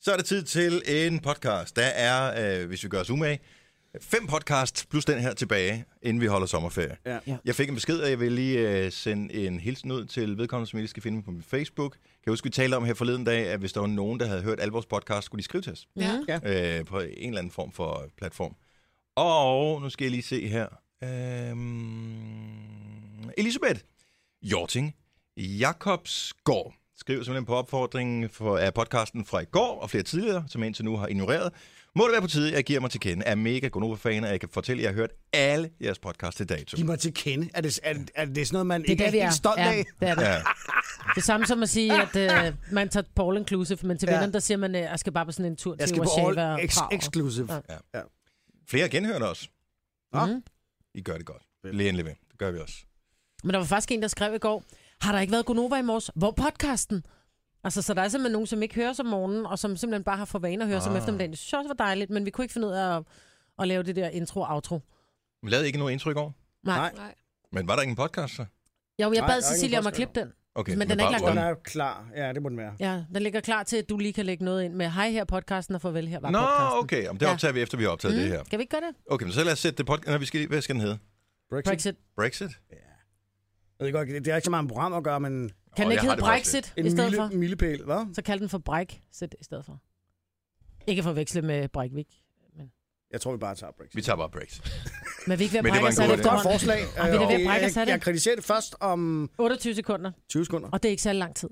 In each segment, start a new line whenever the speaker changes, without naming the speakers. Så er det tid til en podcast. Der er, øh, hvis vi gør os umage, fem podcasts plus den her tilbage, inden vi holder sommerferie.
Ja.
Ja.
Jeg fik en besked, og jeg vil lige øh, sende en hilsen ud til vedkommende, som I lige skal finde mig på min Facebook. Kan jeg huske, vi talte om her forleden dag, at hvis der var nogen, der havde hørt alle vores podcast, skulle de skrive til os
Ja.
øh, på en eller anden form for platform. Og nu skal jeg lige se her. Øhm, Elisabeth Jorting Jakobsgaard skriver simpelthen på opfordringen for, af podcasten fra i går og flere tidligere, som jeg indtil nu har ignoreret. Må det være på tide, at jeg giver mig til kende. Jeg er mega Gonova-fan, og jeg kan fortælle, at jeg har hørt alle jeres podcast til dato.
Giv mig til kende. Er det, er, er det sådan noget, man
Det er
ikke
der,
er
vi er.
helt stolt
ja,
af?
det er det.
Ja.
Det samme som at sige, at øh, man tager Paul Inclusive, men til
Ja.
ja. vennerne, der siger man, øh, jeg skal bare på sådan en tur
Jeg
til
skal på
Warszawa
all
og
ex-
Prag.
exclusive.
Ja.
Flere genhørte os.
Nå.
Mhm.
I gør det godt. Lige endelig ved. Det gør vi også.
Men der var faktisk en, der skrev i går, har der ikke været Gonova i morges? Hvor er podcasten? Altså, så der er simpelthen nogen, som ikke hører som morgenen, og som simpelthen bare har for vane at høre ah. som
Ah.
eftermiddagen. Det synes jeg også var dejligt, men vi kunne ikke finde ud af at, at lave det der intro og outro.
Vi lavede ikke noget indtryk over,
Nej.
Nej.
Nej.
Nej.
men var der ikke en podcast så?
Jo, jeg
Nej, der er
bad
ikke
Cecilia
nogen
om at
forskel.
klippe den.
Okay,
Men den er ikke lagt
bare
op.
Den
one.
er klar. Ja, det må den være.
Ja, den ligger klar til, at du lige kan lægge noget ind med, hej her er podcasten, og farvel her var
Nå,
podcasten.
okay. Jamen, det
Ja.
optager vi efter, vi har optaget mm. det her.
Kan vi ikke gøre det?
Okay, men så lad os sætte det podcast... Nå, vi skal lige... Hvad skal den hedde?
Brexit.
Brexit?
Jeg ved godt, det er ikke så meget med program at gøre, men en
Kan
Åh, jeg
den ikke
har
hedde
det faktisk
Brexit i stedet for?
mile, milepæl, hvad?
Så kald den for Brexit i stedet for. Ikke at forveksle med Breivik.
Jeg tror, vi bare tager Brexit.
Vi tager bare Brexit.
Men vi er ikke ved at
Men det var
brække
en
os af
god
det
idé.
Godt
efterhånden.
forslag.
Ej, vi er da ved at brække os af
jeg,
det.
jeg kritiserer det først om
28 sekunder,
20 sekunder.
og det er ikke særlig lang tid.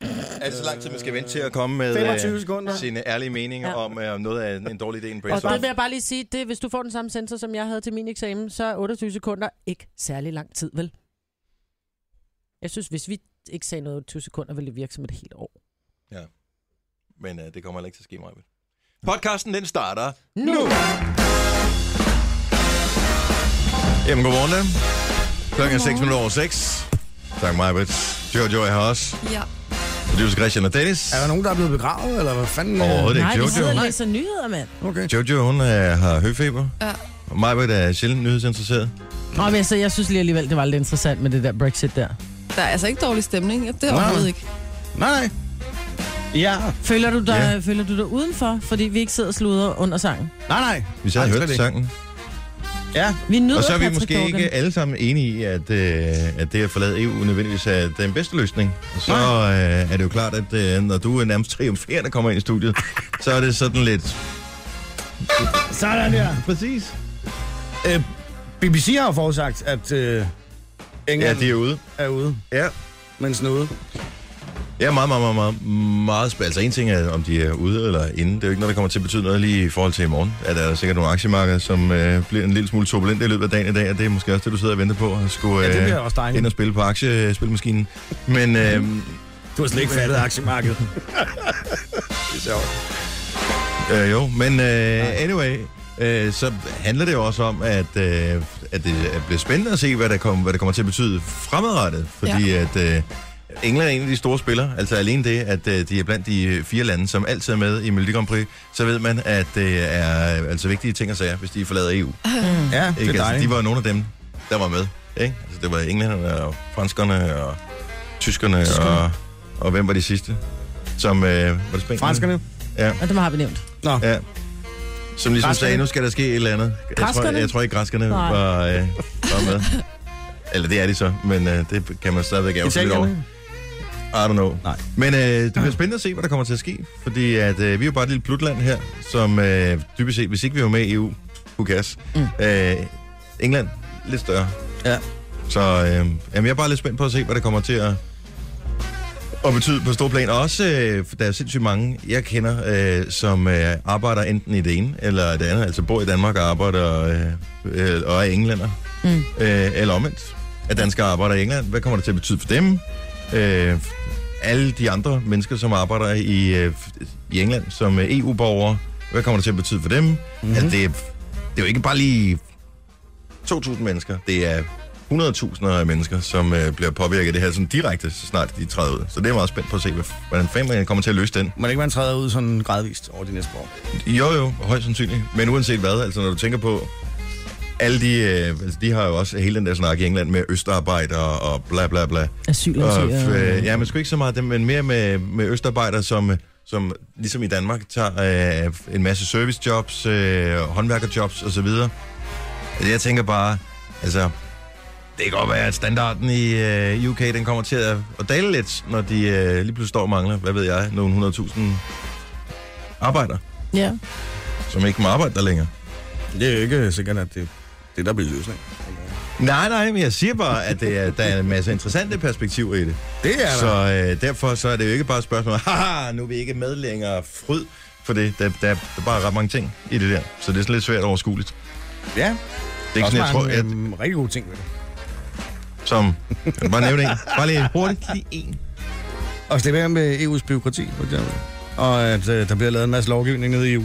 Er det så lang tid, man skal vente til at komme med
25 sekunder.
øh, sine ærlige meninger ja.
Ja.
om øh, noget af en dårlig idé, en
Og det
brainstorm?
vil jeg bare lige sige, det, er, hvis du får den samme sensor, som jeg havde til min eksamen, så er 28 sekunder ikke særlig lang tid, vel? Jeg synes, hvis vi ikke sagde noget 28 sekunder, ville det virke som et helt år.
Men øh, det kommer heller ikke til at ske mig. Podcasten, den starter
Nu!
Jamen, godmorgen da. Klokken er 6 minutter over 6. Tak, Majbrit. Jojo er her også.
Ja.
Producer Christian og Dennis.
Er der nogen, der er blevet begravet, eller hvad fanden? øh?
Overhovedet ikke.
Nej, vi
Jojo.
sidder og læser nyheder, mand.
Okay.
Jojo, hun øh, har høfeber.
Ja.
Og Majbrit er sjældent nyhedsinteresseret.
Nå, men altså, jeg synes lige alligevel, det var lidt interessant med det der Brexit der.
Der er altså ikke dårlig stemning. Det er overhovedet ikke.
Nej, nej.
Ja.
Føler du dig,
Ja.
ja. føler du dig udenfor, fordi vi ikke sidder og sluder under sangen?
Nej, nej.
Hvis jeg
Nej,
havde
slet
hørt
ikke.
sangen.
Ja.
Vi nyder
Og så er vi
Patrick
måske
Dorgan.
ikke alle sammen enige i, at, øh, at det at forlade EU nødvendigvis er den bedste løsning. Og så øh, er det jo klart, at øh, når du er nærmest triumferende kommer ind i studiet, så er det sådan lidt...
Sådan der.
Præcis.
Øh, BBC har jo forudsagt, at øh,
Ja,
England
de er ude.
er ude,
Ja.
mens den er ude.
Ja, meget, meget, meget, meget, meget spændende. Altså en ting er, om de er ude eller inde. Det er jo ikke noget, der kommer til at betyde noget lige i forhold til i morgen. Er der sikkert nogle aktiemarkeder, som øh, bliver en lille smule turbulente i løbet af dagen i dag, og det er måske også det, du sidder og venter på at skulle
Ja, det
øh,
bliver også Mhm. dejligt.
ind og spille på aktiespilmaskinen. Men øh,
Du har slet ikke fattet aktiemarkedet.
øh, jo, men øh, anyway, øh, så handler det jo også om, at, øh, at det bliver spændende at se, hvad der, kom, hvad der kommer til at betyde fremadrettet. Fordi ja. at... Øh, England er en af de store spillere. Altså alene det, at øh, de er blandt de fire lande, som altid er med i Melodi Grand Prix, så ved man, at det er øh, altså vigtige ting og sager, hvis de forlader EU.
Ja, det
Ikke?
er
Altså, de
dejligt.
var jo nogle af dem, der var med. Ikke? Altså, det var englænderne og franskerne og tyskerne, Og, og hvem var de sidste? Som, øh, var det Spanien?
Franskerne.
Ja,
Og dem har vi nævnt.
Nå.
ja. Som ligesom
Græskerne.
sagde, nu skal der ske et eller andet. Jeg tror,
Græskerne?
jeg tror ikke, græskerne
Nej.
var, øh, var med. Eller det er de så, men øh, det kan man stadigvæk ærge sig lidt over.
Italienerne.
I don't know.
Nej.
Men øh, det bliver spændende at se, hvad der kommer til at ske, fordi at, øh, vi er jo bare et lille plutland her, som øh, dybest set, hvis ikke vi var med i EU, who cares? Mm. Øh, England, lidt større.
Ja.
Så øh, jamen, jeg er bare lidt spændt på at se, hvad der kommer til at, at betyde på stor plan. Og også, øh, der er sindssygt mange, jeg kender, øh, som øh, arbejder enten i det ene eller det andet, altså bor i Danmark og arbejder øh, øh, og er englænder. Mm. Øh, eller omvendt, at danskere arbejder i England. Hvad kommer det til at betyde for dem? øh, alle de andre mennesker, som arbejder i, øh, i England som øh, EU-borgere. Hvad kommer det til at betyde for dem? Mm-hmm. Altså, det, er, det er jo ikke bare lige 2.000 mennesker. Det er 100.000 af mennesker, som øh, bliver påvirket af det her sådan direkte, så snart de træder ud. Så det er jeg meget spændt på at se, hvad- hvordan fanden man kommer til at løse den.
Må det ikke man træder ud sådan gradvist over de næste år?
Jo, jo, højst sandsynligt. Men uanset hvad, altså når du tænker på, alle de, øh, altså, de har jo også hele den der snak i England med østarbejdere og bla bla bla.
Asylansøgere. øh,
Og, øh, ja, men sgu ikke så meget dem, men mere med, med østarbejdere, som, øh, som ligesom i Danmark tager øh, en masse servicejobs, øh, håndværkerjobs osv. Altså, jeg tænker bare, altså, det kan godt være, at standarden i øh, UK, den kommer til at, at dale lidt, når de øh, lige pludselig står og mangler, hvad ved jeg, nogle 100.000 arbejdere,
Ja.
som ikke må arbejde der længere.
Det er jo ikke sikkert, at det, det der bliver løsning.
Nej, nej, men jeg siger bare, at det er, der er en masse interessante perspektiver i det.
Det er
Ja, så
der.
øh, derfor så er det jo ikke bare et spørgsmål, haha, nu er vi ikke med længere, fryd for det. Der, der, der er bare ret mange ting i det der, så det er sådan lidt svært overskueligt. Det
Ja,
er ikke sådan, jeg tror, at,
øhm, rigtig gode ting ved det.
som... Jeg vil bare nævne en. Bare lige hurtigt lige en.
Og slippe af med EU's byråkrati, for eksempel. Og at øh, der bliver lavet en masse lovgivning nede i EU,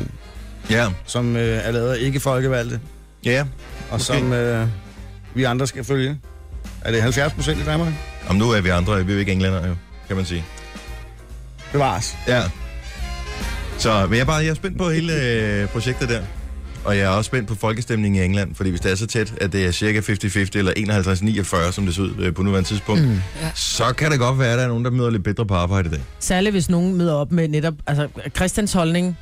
Ja,
som øh, er lavet af ikke-folkevalgte,
ja.
og som øh, vi andre skal følge. Er det 70 procent i Danmark?
Om nu er vi andre, vi er jo ikke englænder jo, kan man sige.
Bevares.
Ja. Så men jeg, er bare, jeg er spændt på hele øh, projektet der. Og jeg er også spændt på folkestemningen i England, fordi hvis det er så tæt, at det er cirka 50-50 eller 51-49, som det ser ud øh, på nuværende tidspunkt, mm.
Ja.
så kan det godt være, at der er nogen, der møder lidt bedre på arbejde i dag.
Særligt hvis nogen møder op med netop altså, Christians holdning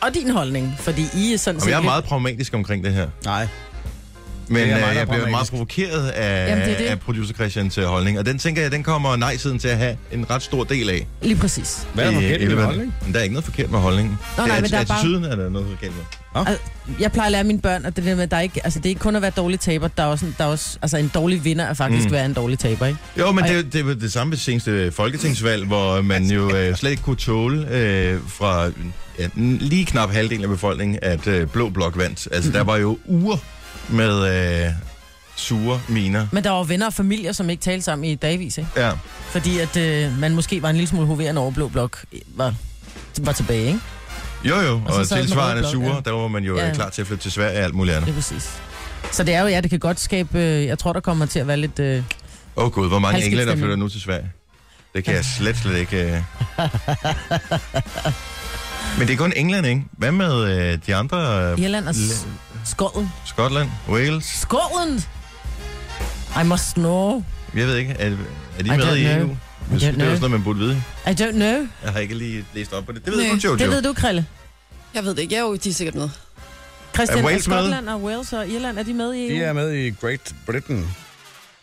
og din holdning, fordi I er sådan
Jamen, jeg er meget pragmatisk omkring det her.
Nej.
Men
Det
øh,
er mig, der er
jeg bliver meget
pragmatisk.
provokeret af,
Jamen, det er
Jamen,
det.
af producer Christians øh, holdning, og den tænker jeg, den kommer nej-siden til at have en ret stor del af.
Lige præcis.
Hvad er der
i- i
forkert med
løbet af-
holdning?
Men Der er ikke noget forkert med holdningen.
Nå,
det
nej,
er,
men der er bare-
attituden er der noget forkert med.
Jeg plejer at lære mine børn, at det der med, at der ikke, altså, det er ikke kun at være dårlig taber, der er også, en- der er også altså, en dårlig vinder er faktisk
Mm.
mm. være en dårlig taber, ikke?
Jo, men
Og
det, er jo- det er jo det samme ved seneste folketingsvalg, hvor man jo øh, slet ikke kunne tåle øh, fra ja, n- lige knap halvdelen af befolkningen, at øh, Blå Blok vandt. Altså, der var jo uger med øh, sure miner.
Men der var jo venner og familier, som ikke talte sammen i dagvis, ikke?
Ja.
Fordi at øh, man måske var en lille smule hoverende over Blå Blok, øh, var, var tilbage, ikke?
Jo, jo, og,
Og så
og
sad den
tilsvarende
røde blok,
sure, ja.
ja.
der var man jo
Ja,
ja.
ja.
klar til at flytte til Sverige og alt muligt andet.
Det er præcis. Så det er jo, ja, det kan godt skabe, øh, jeg tror, der kommer til at være lidt... Øh,
Åh oh, gud, hvor mange
Halvskidt
englænder
stemning.
flytter nu til Sverige? Det kan jeg slet, slet ikke... Øh... Men det er kun England, ikke? Hvad med øh, de andre? Øh,
Irland og s-
l-
Skotland.
Skotland? Wales?
Skotland! I must know.
Jeg ved ikke, er, er de
I
med
don't
i
know.
EU? Jeg synes, det er jo
know.
sådan noget, man burde vide.
I don't know.
Jeg har ikke lige læst op på det. Det ved
Nej,
du, Jojo.
Det ved du, Krille.
Jeg ved det ikke. Jeg er jo, de er sikkert med.
Christian,
Er
er,
Wales
Skotland og Wales og Irland, er de med i E EU?
De er med i Great Britain.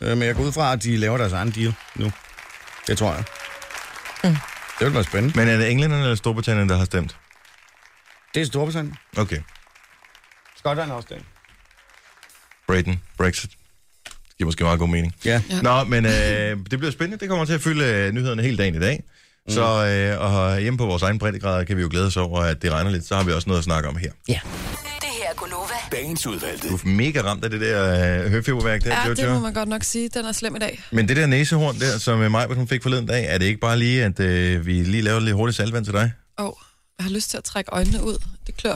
Øh, men jeg går ud fra, at de laver deres egen deal nu. Det tror jeg.
Mm.
Det ville være spændende.
Men er det englænderne eller Storbritannien, der har stemt?
Det er Storbritannien.
Okay.
Skotland er også det.
Britain. Brexit. Det giver måske meget god mening.
Ja.
Ja.
Nå, men øh, det bliver spændende. Det kommer til at fylde øh, nyhederne hele dagen i dag. Så øh, og hjemme på vores egen breddegrad kan vi jo glæde os over, at det regner lidt. Så har vi også noget at snakke om her.
Ja.
Det her er Gunova.
Dagens udvalgte.
Du er mega ramt af det der øh, høfjordværk der,
Ja,
Jojo.
det må man godt nok sige. Den er slem i dag.
Men det der næsehorn der, som øh, Majbert hun fik forleden dag, er det ikke bare lige, at øh, vi lige laver lidt hurtigt salvand til dig?
Åh, oh, jeg har lyst til at trække øjnene ud. Det klør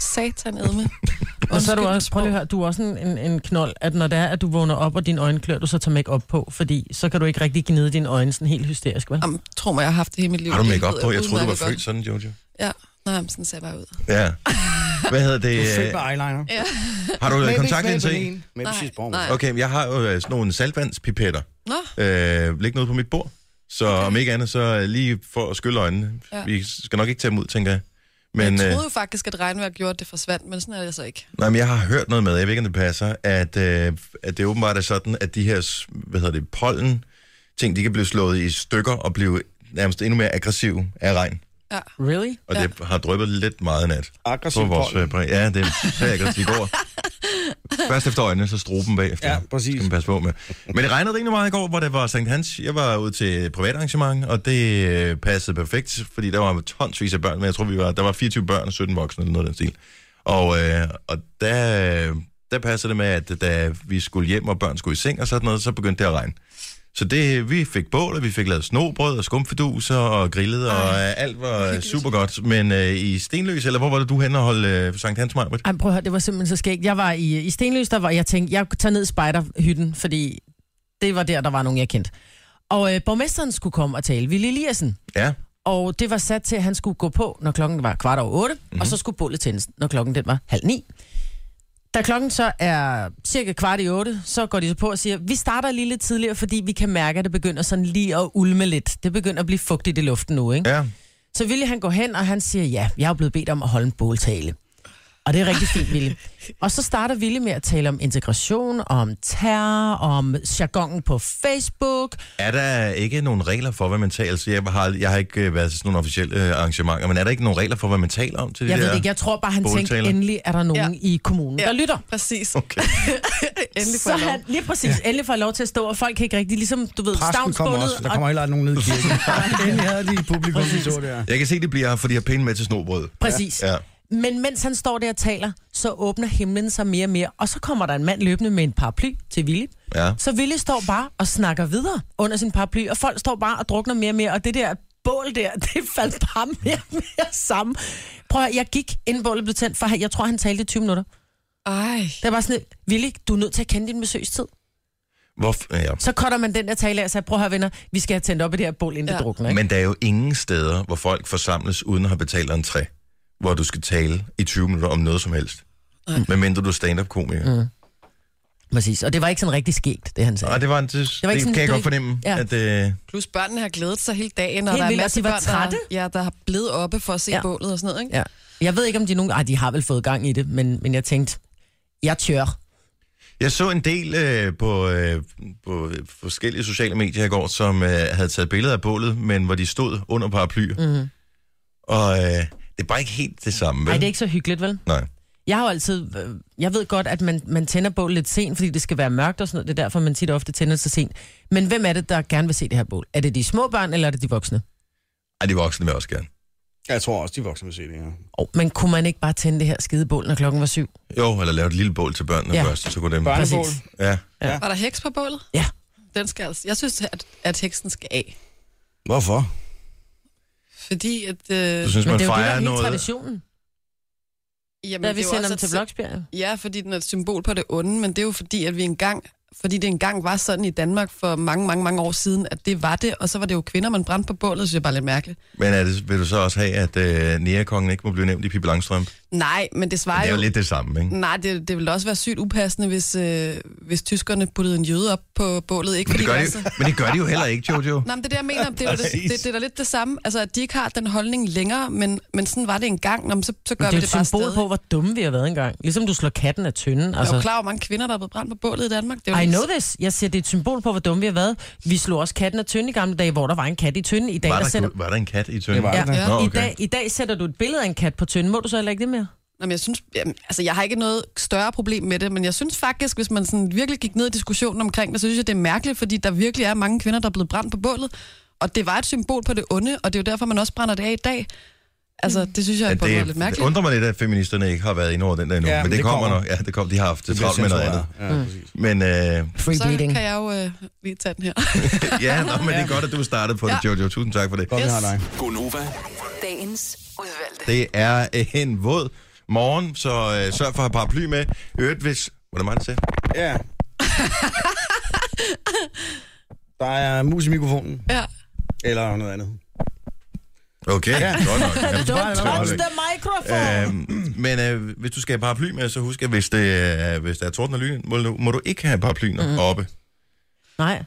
satan edme.
Og så er du også, prøv lige at høre, du er også en, en, en knold, at når det er, at du vågner op, og dine øjne klør, du så tager make op på, fordi så kan du ikke rigtig gnide dine øjne sådan helt hysterisk, vel?
Jamen, tro mig, jeg har haft det hele mit liv.
Har du
Det
make op
ved
på? Jeg troede, du var
udmærket
født sådan, Jojo.
godt. Ja, nej, men sådan ser jeg bare ud.
Ja. Hvad hedder
Du
det?
er født
øh,
med eyeliner.
Ja.
Har du øh, kontaktlinser i?
Med
Nej,
sidste
nej.
Okay, men jeg har jo øh, sådan nogle saltvandspipetter.
Nå,
øh, ligge noget på mit bord. Så okay. om ikke andet, så øh, lige for at skylle øjnene. Ja.
Ja.
Vi skal nok ikke tage dem ud, tænker jeg.
men,
Men,
jeg
øh,
troede jo faktisk, at regnvejr gjorde, at det forsvandt, men sådan er det så ikke.
nej, men jeg har hørt noget med, jeg ved ikke, om det passer, at, øh, at det åbenbart er sådan, at de her, s- hvad hedder det, pollen, ting, de kan blive slået i stykker og blive nærmest endnu mere aggressive af regn.
Ja.
Really?
Og
Ja.
det har drøbet lidt meget i nat.
Aggressiv
På vores,
pollen.
øh, præ- ja, det er så aggressivt i går. Først efter øjnene, så struben bagefter.
Ja, præcis.
Skal man passe på med. Men det regnede rimelig meget i går, hvor det var Sankt Hans. Jeg var ude til et privat arrangement, og det øh, passede perfekt, fordi der var tonsvis af børn, men jeg tror, vi var, der var 24 børn og 17 voksne, eller noget af den stil. Og, øh, og der, der passede det med, at da vi skulle hjem, og børn skulle i seng og sådan noget, så begyndte det at regne. Så det, vi fik bål, og vi fik lavet snobrød og skumfiduser og grillet, og øh, alt var super godt. Men øh, i Stenløs, eller hvor var det, du hen og holdt øh, Sankt Hans Majbert?
Ej, men prøv at høre, det var simpelthen så skægt. Jeg var i, i Stenløs, der var, jeg tænkte, jeg tager ned i spejderhytten, fordi det var der, der var nogen, jeg kendte. Og øh, borgmesteren skulle komme og tale, Ville Eliassen.
Ja.
Og det var sat til, at han skulle gå på, når klokken var kvart over otte, mm-hmm. og så skulle bålet tændes, når klokken den var halv ni. Da klokken så er cirka kvart i otte, så går de så på og siger, vi starter lige lidt tidligere, fordi vi kan mærke, at det begynder sådan lige at ulme lidt. Det begynder at blive fugtigt i luften nu, ikke?
Ja.
Så Ville han går hen, og han siger, ja, jeg er blevet bedt om at holde en båltale. Og det er rigtig fint, Ville. Og så starter Ville med at tale om integration, om terror, om jargonen på Facebook.
Er der ikke nogen regler for, hvad man taler? Altså, jeg, har, jeg har ikke øh, været til sådan nogle officielle øh, arrangementer, men er der ikke nogen regler for, hvad man taler om til det
Jeg
der?
ved det ikke, jeg tror bare, han tænkte,
båltaler.
endelig er der nogen i kommunen, der lytter.
Præcis.
Okay.
Endelig
så
får jeg lov.
han, lige præcis, ja. endelig får jeg lov til at stå, og folk kan ikke rigtig, ligesom, du ved,
Præsten kommer også, der
stavnsbundet,
kommer heller aldrig nogen ned i kirken. Endelig havde de et publikum, de så der.
Jeg kan se, det bliver her, for de har penge med til snobrød.
Præcis.
Ja.
Ja. Men mens han står der og taler, så åbner himlen sig mere og mere, og så kommer der en mand løbende med en paraply til Ville.
Ja.
Så Ville står bare og snakker videre under sin paraply, og folk står bare og drukner mere og mere, og det der bål der, det faldt bare mere og mere sammen. Prøv at høre, jeg gik, inden bålet blev tændt, for han- jeg tror, han talte i 20 minutter.
Ej.
Det var sådan, lidt, Ville, du er nødt til at kende din besøgstid.
Hvorfor? Ja.
Så cutter man den der tale af, og sagde, prøv at høre, venner, vi skal have tændt op i det her bål, inden ja.
Ja.
det drukner. Ikke?
Men der er jo ingen steder, hvor folk forsamles uden at have betalt entré, hvor du skal tale i 20 minutter om noget som helst. Mm. Medmindre du er stand-up-komiker.
Mhm.
Mm.
Præcis, og det var ikke sådan rigtig skægt, det han sagde.
Og det var en, det, det,
var
var
ikke
det
sådan,
kan jeg
du
godt
ikke-
fornemme,
Ja.
ja. at øh,
Plus børnene har glædet sig hele dagen, og
Helt
der er
vildt, og
masser
de var
børn, der,
trætte.
har- ja, der har blevet oppe for at se
Ja.
ja. bålet og sådan noget. Ikke?
Ja. Jeg ved ikke, om de nogen... Ej, de har vel fået gang i det, men, men jeg tænkte, jeg tør.
Jeg så en del øh, på, øh, på øh, forskellige sociale medier i går, som øh, havde taget billeder af bålet, men hvor de stod under paraplyer. Mm-hmm. Og øh, det er bare ikke helt det samme, vel?
Nej, Mhm. det er ikke så hyggeligt, vel?
Nej.
Jeg har jo altid... øh, Jeg ved godt, at man, man tænder bål lidt sent, fordi det skal være mørkt og sådan noget. Det er derfor, man tit og ofte tænder så sent. Men hvem er det, der gerne vil se det her bål? Er det de små børn, eller er det de voksne?
Ej, de voksne vil også gerne.
Jeg tror også, de voksne vil se det her.
Oh, men kunne man ikke bare tænde det her skide bål, når klokken var syv?
Jo, eller lave et lille bål til børnene
Ja.
ja. først, og så kunne dem...
Børnebål.
Præcis.
Ja.
Var der heks på bålet?
Ja.
Den skal altså, jeg synes, at, at heksen skal af.
Hvorfor?
Fordi at... Øh,
Du synes,
Men
man
det er jo det, der er
fejrer
hele
noget...
traditionen,
jamen,
da
det er
vi
jo
sender
også
dem
et
til
si-
Bloksbjerg.
Ja, fordi den er et symbol på det onde, men det er jo fordi, at vi engang... Fordi det engang var sådan i Danmark for mange, mange, mange år siden, at det var det, og så var det jo kvinder, man brændte på bålet, synes jeg bare er lidt mærkeligt.
Men er det, vil du så også have, at øh, Nea-kongen ikke må blive nævnt i Pippi Langstrøm? Det
Nej, men det svarer
er jo
jo... Mm,
lidt det samme, ikke?
Nej, det, det ville også være sygt upassende, hvis, øh, hvis tyskerne puttede en jøde op på bålet. Ikke
Men det, gør de,
var
jo- men det gør de jo heller ikke, Jojo.
Nej, men det er det, jeg mener. Det er, jo det, det, det er da lidt det samme. Altså, at de ikke har den holdning længere, men, men sådan var det engang. Nå, men så, så gør
Det er
vi
jo
det
et
bare
symbol
stadig.
på, hvor dumme vi har været engang. Ligesom du slår katten af tynden.
Jeg er jo
Altså.
klar over, hvor mange kvinder, der er blevet brændt på bålet i Danmark. Det er jo
I
helt-
know this. Jeg siger, det er et symbol på, hvor dumme vi har været. Vi slog også katten af tynden i gamle dage, hvor der var en kat i tynden. I dag,
Var
der
der,
sætter...
var der en kat i tønden?
Det var der.
Ja.
Ja.
Nå,
I,
okay.
dag, I dag sætter du et billede af en kat på tynden. Må du så heller ikke det mere?
Nå, men jeg synes, jamen, altså, jeg har ikke noget større problem med det, men jeg synes faktisk, hvis man sådan virkelig gik ned i diskussionen omkring det, så synes jeg, det er mærkeligt, fordi der virkelig er mange kvinder, der er blevet brændt på bålet. Og det var et symbol på det onde, og det er jo derfor, man også brænder det af i dag. Altså, det synes jeg er
At
på en måde lidt
det, det
mærkeligt.
undrer mig lidt, at feministerne ikke har været inde over den der endnu. Ja, men det, det kommer, kommer nok. Ja, det kommer. De har haft det
bliver
travlt med noget andet.
censureret. Ja, præcis.
Men øh,
Free
Så
bleeding.
kan jeg jo øh, lige tage den her.
ja, nå, men det er godt, at du startede på det, Jojo. Tusind tak for det.
Godt, vi har dig.
Gonova.
Dagens udvalgte.
Det er en våd morgen, så øh, sørg for at have paraply med. I Øvrigt, hvis... Var det mig, der sagde?
Ja. Der er mus i mikrofonen,
ja.
eller noget andet.
Okay, ja. godt nok. Ja,
Don't
det var
touch
det. Øhm, men øh, hvis du skal have paraply med, så husk, at hvis, det, øh, hvis der er torden og lyn, må, du- må du ikke have paraplyer mm. oppe.
Nej.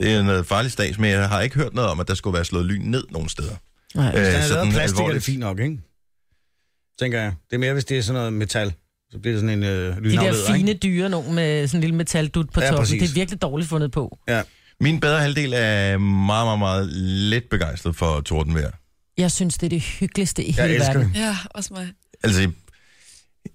Det er noget farligt stads, men jeg har ikke hørt noget om, at der skulle være slået lyn ned nogen steder.
Nej.
Øh,
Hvis den er lavet
sådan
af plastik, er det
alvorligt.
fint nok, ikke? Tænker jeg. Det er mere, hvis det er sådan noget metal. Så bliver det sådan en øh,
De
lynafleder,
der fine
ikke?
dyre, nogen med sådan en lille metaldut på
Ja,
toppen,
præcis.
det er virkelig dårligt fundet på.
Ja.
Min bedre halvdel er meget, meget, meget lidt begejstret for tordenvejr.
Jeg synes, det er det hyggeligste i
Jeg
hele
elsker det.
verden.
Ja, også mig.
Altså,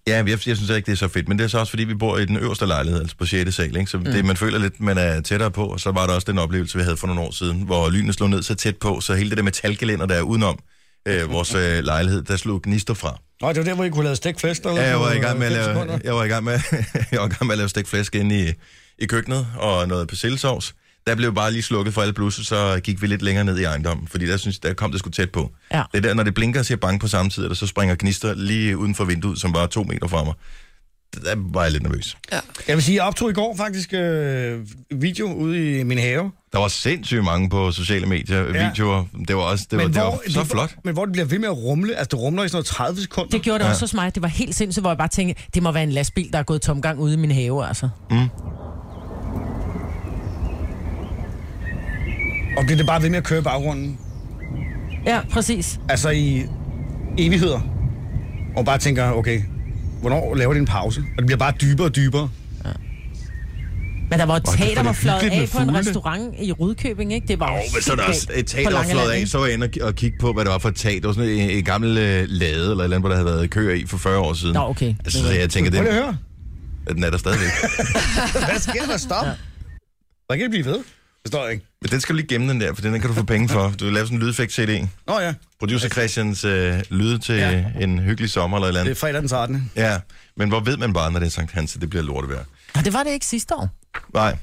ja, jeg, jeg synes ikke, det er så fedt, men det er så også, fordi vi bor i den øverste lejlighed, altså på 6. sal, ikke? så mm. det, man føler lidt, man er tættere på, og så var der også den oplevelse, vi havde for nogle år siden, hvor lynet slog ned så tæt på, så hele det der metalgelænder, der er udenom øh, vores øh, lejlighed, der slog gnister fra.
Nå, det var der, hvor I kunne lave stikfester. eller
Ja, jeg
sådan
var i
noget,
gang med at
fem
lave,
sekunder.
jeg var i gang med, jeg var i gang med at lave stikflæsk inde i, i køkkenet og noget persillesovs. Der blev bare lige slukket for alle blusser, så gik vi lidt længere ned i ejendommen, fordi der, synes, der kom det sgu tæt på.
Ja.
Det er der, når det blinker og siger bang på samme tid, og der så springer gnister lige uden for vinduet, som var to meter fra mig. Der var jeg lidt nervøs.
Jeg vil sige, jeg optog i går faktisk øh, video ude i min have.
Der var sindssygt mange på sociale medier,
Ja.
ja. videoer. Det var også det var, det var så flot.
Men hvor det bliver ved med at rumle. Altså, det rumler i sådan noget 30 sekunder.
Det gjorde det også hos mig. Det var helt sindssygt, hvor jeg bare tænkte, det må være en lastbil, der er gået tomgang ude i min have, altså.
Og bliver det bare ved med at køre i baggrunden.
Ja, præcis.
altså i evigheder, og bare tænker, okay, hvornår laver det en pause? Og det bliver bare dybere og dybere.
Men der var et
det
teater,
er
var fløjet
hyggeligt
af
med
på en
fugle.
restaurant i Rødkøbing, ikke? Det var jo
Og så er der også et
på
teater
Langeland,
flot af,
ikke?
så var jeg inde og, og kigge på, hvad det var for et teater. Det var sådan en, en gammel øh, lade, eller et eller andet, hvor der havde været køer i for 40 år siden.
Nå, okay.
Altså, så jeg tænker,
Prøv
den,
lige at høre.
den er der stadigvæk.
Hvad sker der? Stop. Der kan det blive ved. Det står ikke.
Men den skal du lige gemme, den der, for den kan du få penge for. Du vil lave sådan en lydeffekt-CD.
Nå ja,
Producer Christians øh, lyde til
Ja.
ja. en hyggelig sommer eller et eller
det
andet.
er fredag den 13.
Ja, men hvor ved man bare, når det er Sankt Hans, at det bliver lortevejr?
Nå, det var det ikke sidste år.
Nej.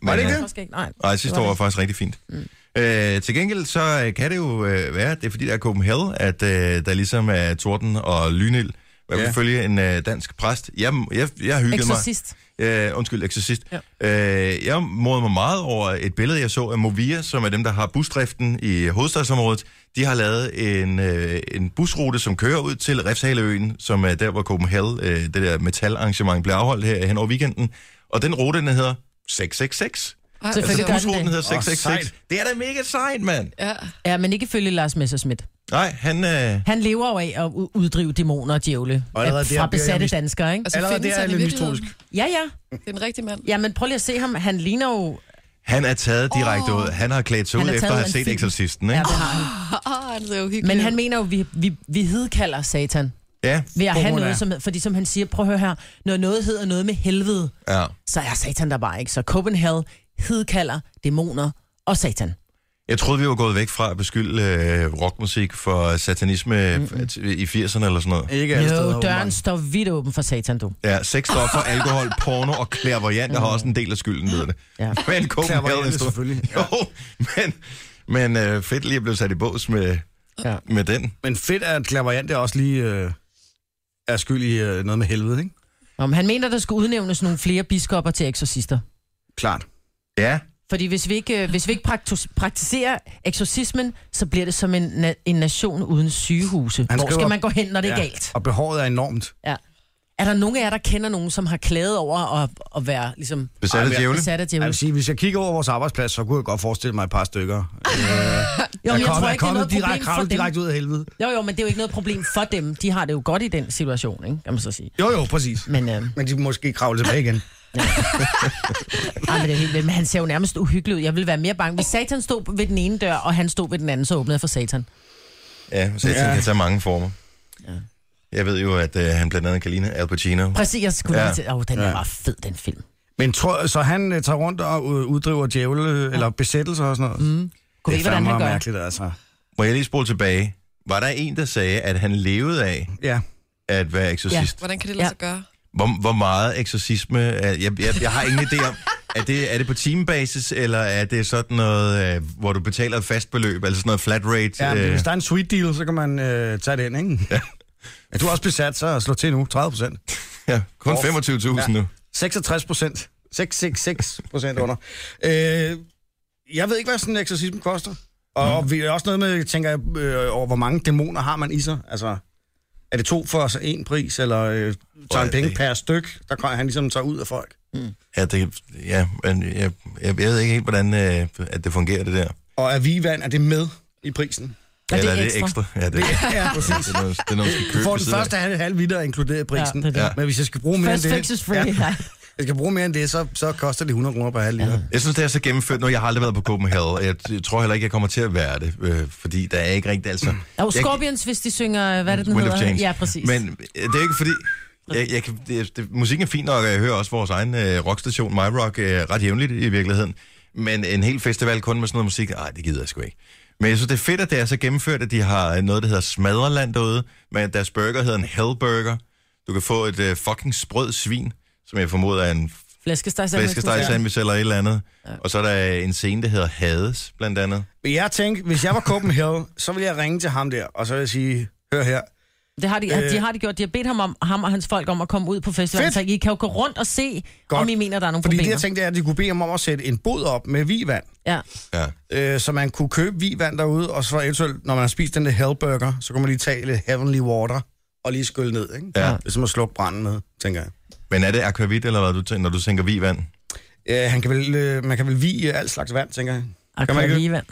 Men,
Var det ikke
øh,
det?
Måske ikke, nej.
Nej, sidste
Det
år
var
var faktisk rigtig fint. Mm. Øh, til gengæld så øh, kan det jo øh, være, at det er fordi, der er Copenhagen, at øh, der ligesom er torden og lynild. Jeg vil
Ja.
ja. følge en øh, dansk præst. Jeg, jeg, jeg hyggede
Exorcist.
mig. Øh, undskyld, eksorcist. Ja. Øh, jeg modede mig meget over et billede, jeg så af Movia, som er dem, der har busdriften i hovedstadsområdet. De har lavet en, øh, en busrute, som kører ud til Refshaleøen, som er der, hvor Copenhagen, øh, det der metalarrangement, blev afholdt her hen over weekenden. Og den rute, den hedder 666.
Ej,
Selvfølgelig
Altså,
gør den
busruten
det.
hedder
Åh,
666.
sejt.
det er da mega sejt, mand.
Ja.
Ja, men ikke følge Lars Messerschmidt.
Nej, han... Øh,
Han lever jo af at u- uddrive dæmoner og djævle
Og allerede
af-
der
fra
bliver jeg
besatte
mist-
danskere, ikke?
Altså,
Allerede
findes
der er
han i
jeg lidt
virkeligheden?
Ja, ja.
Det er en rigtig mand.
Ja, men prøv lige at se ham. Han ligner jo...
han er taget direkte
Åh.
ud. Han har klædt sig
Han
ud,
er
efter at
taget
have
ud af
set
en film.
Exorcisten,
Ja,
ikke?
det har
Ah,
han.
Åh, han ser jo hyggelig
Men han
ud.
mener jo, vi, vi, vi hedkalder satan
Ja.
ved at
På
have
grund af-
noget, som, fordi som han siger, prøv at høre her, når noget hedder noget med helvede,
ja.
så er satan der bare ikke. Så Copenhagen hedkalder dæmoner og satan.
Jeg troede, vi var gået væk fra at beskylde øh, rockmusik for satanisme mm-hmm. i 80'erne eller sådan noget.
Ikke alle steder,
Jo, døren
åbenbart.
står vidt åben for satan, du.
Ja, sexstoffer, alkohol, porno og klærvariant har også en del af skylden, ved det.
Ja.
Men Copenhagen...
Clairvoyant, selvfølgelig.
Jo, men, men øh, fedt lige at blive sat i bås med,
Ja.
ja. med den.
Men fedt er, at klaverant er også lige øh, er skyld i øh, noget med helvede, ikke?
Om han mener, der skal udnævnes nogle flere biskopper til eksorcister.
Klart.
Ja.
Fordi hvis vi ikke, øh, hvis vi ikke praktus- praktiserer eksorcismen, så bliver det som en, na- en nation uden sygehuse.
Han
Han Hvor
skriver-
skal man gå hen, når det ja. er galt?
Og behovet er enormt.
Ja. Er der nogen af jer, der kender nogen, som har klaget over at, at være ligesom,
Besat af
men-
djævle.
besat af
Jeg
djævlen?
vil sige, Altså, hvis jeg kigger over vores arbejdsplads, så kunne jeg godt forestille mig et par stykker.
Jo, men
er
jeg
kommet,
tror
er
ikke, det er
kommet
noget problem
direkte,
for
kravlet
dem.
direkte ud af helvede.
Jo, jo, men det er jo ikke noget problem for dem. De har det jo godt i den situation, ikke? Kan man så sige.
Jo, jo, præcis.
Men, øh,
Men de må måske kravle tilbage igen.
ej, men, det er helt vildt. men han ser jo nærmest uhyggelig ud. Jeg ville være mere bange. Hvis satan stod ved den ene dør, og han stod ved den anden, så åbnede jeg for satan.
Ja, satan
Ja.
ja. kan tage mange former. Ja. Jeg ved jo, at øh, han blandt andet kan ligne Al Pacino.
Præcis, jeg skulle ja.
Ja.
lige til. Åh, den er
Ja.
bare fed, den film.
Men tror, så han øh, tager rundt og øh, uddriver djævle ja. eller besættelser og sådan noget? Mm.
Kunne
Det er
vi ikke, hvordan han
fandme
gør?
mærkeligt, altså.
Må jeg lige spole tilbage? Var der en, der sagde, at han levede af
Ja.
at være eksorcist? Ja.
Hvordan kan det lade
Ja.
sig gøre?
Hvor, hvor meget eksorcisme... er- Jeg, jeg, jeg har ingen idé om... Er det, er det på timebasis, eller er det sådan noget, øh, hvor du betaler et fast beløb, altså sådan noget flat rate?
ja men
øh,
hvis der er en sweet deal, så kan man øh, tage den, ikke? Ja. Er du også besat, så slå til nu. 30 procent.
ja, kun
Åh.
25.000 ja. nu.
66 procent. 666 procent under. Øh, jeg ved ikke, hvad sådan en eksorcisme koster. Og,
Mm.
og vi er også noget med, jeg tænker jeg, øh, over, hvor mange dæmoner har man i sig. Altså, er det to for så en pris, eller øh, tager han
det-
penge per styk, der kan han ligesom tager ud af folk?
Ja, det, ja men jeg, jeg, jeg ved ikke helt, hvordan øh, at det fungerer, det der.
Og er vivand, er det med i prisen?
Er det
eller
ekstra?
Ja, det,
Ja,
det, er noget, det er noget, du skal købe
Du får
ved
den
siden af.
første halve, halve liter inkluderet i prisen.
Ja, det er
det.
Men hvis jeg skal bruge mere
First
end
fix
det,
is free. Ja.
jeg skal bruge mere end det, så, så koster det 100 kroner per halv liter.
Jeg synes, det er så gennemført nu. Jeg har aldrig været på Copenhagen, og jeg jeg tror heller ikke, jeg kommer til at være det, øh, fordi der er ikke rigtig, altså...
Og
Jeg-
Scorpions, hvis de synger, hvad er det, den
Wind of
hedder?
Change.
Ja, præcis.
Men øh, det er ikke fordi... Jeg, jeg kan, det, det, musikken er fin nok, og jeg hører også vores egen øh, rockstation, My Rock, øh, ret jævnligt i virkeligheden. Men en hel festival kun med sådan noget musik, nej, det gider jeg sgu ikke. Men jeg synes, det er fedt, at det er så gennemført, at de har øh, noget, der hedder Smadreland derude, men deres burger hedder en Hellburger. Du kan få et øh, fucking sprød svin, som jeg formoder er en
Flæskesteg sandwich.
flæskesteg sandwich eller et eller andet. Og så er der en scene, der hedder Hades, blandt andet.
Men jeg tænkte, hvis jeg var Copenhagen, så ville jeg ringe til ham der, og så ville jeg sige, hør her,
Det har de, øh, de har de gjort. De har bedt ham, om, ham og hans folk om at komme ud på festivalen.
Fedt.
Så I kan jo gå rundt og se, Godt.
Godt.
om I mener, der er nogle
Fordi det,
problemer.
jeg tænkte, er, at de kunne bede ham om at sætte en bod op med vivand,
Ja.
Ja.
øh, så man kunne købe vivand derude, og så eventuelt, når man har spist den der hellburger, så kunne man lige tage lidt heavenly water og lige skylle ned, ikke?
Ja.
Det er som at slukke branden med, tænker jeg.
Men er det akvavit, eller hvad du tænker, når du tænker vivand?
Øh, han kan vel, øh, man kan vel vige alt slags vand, tænker jeg. Kan man ikke?
Aquavivand.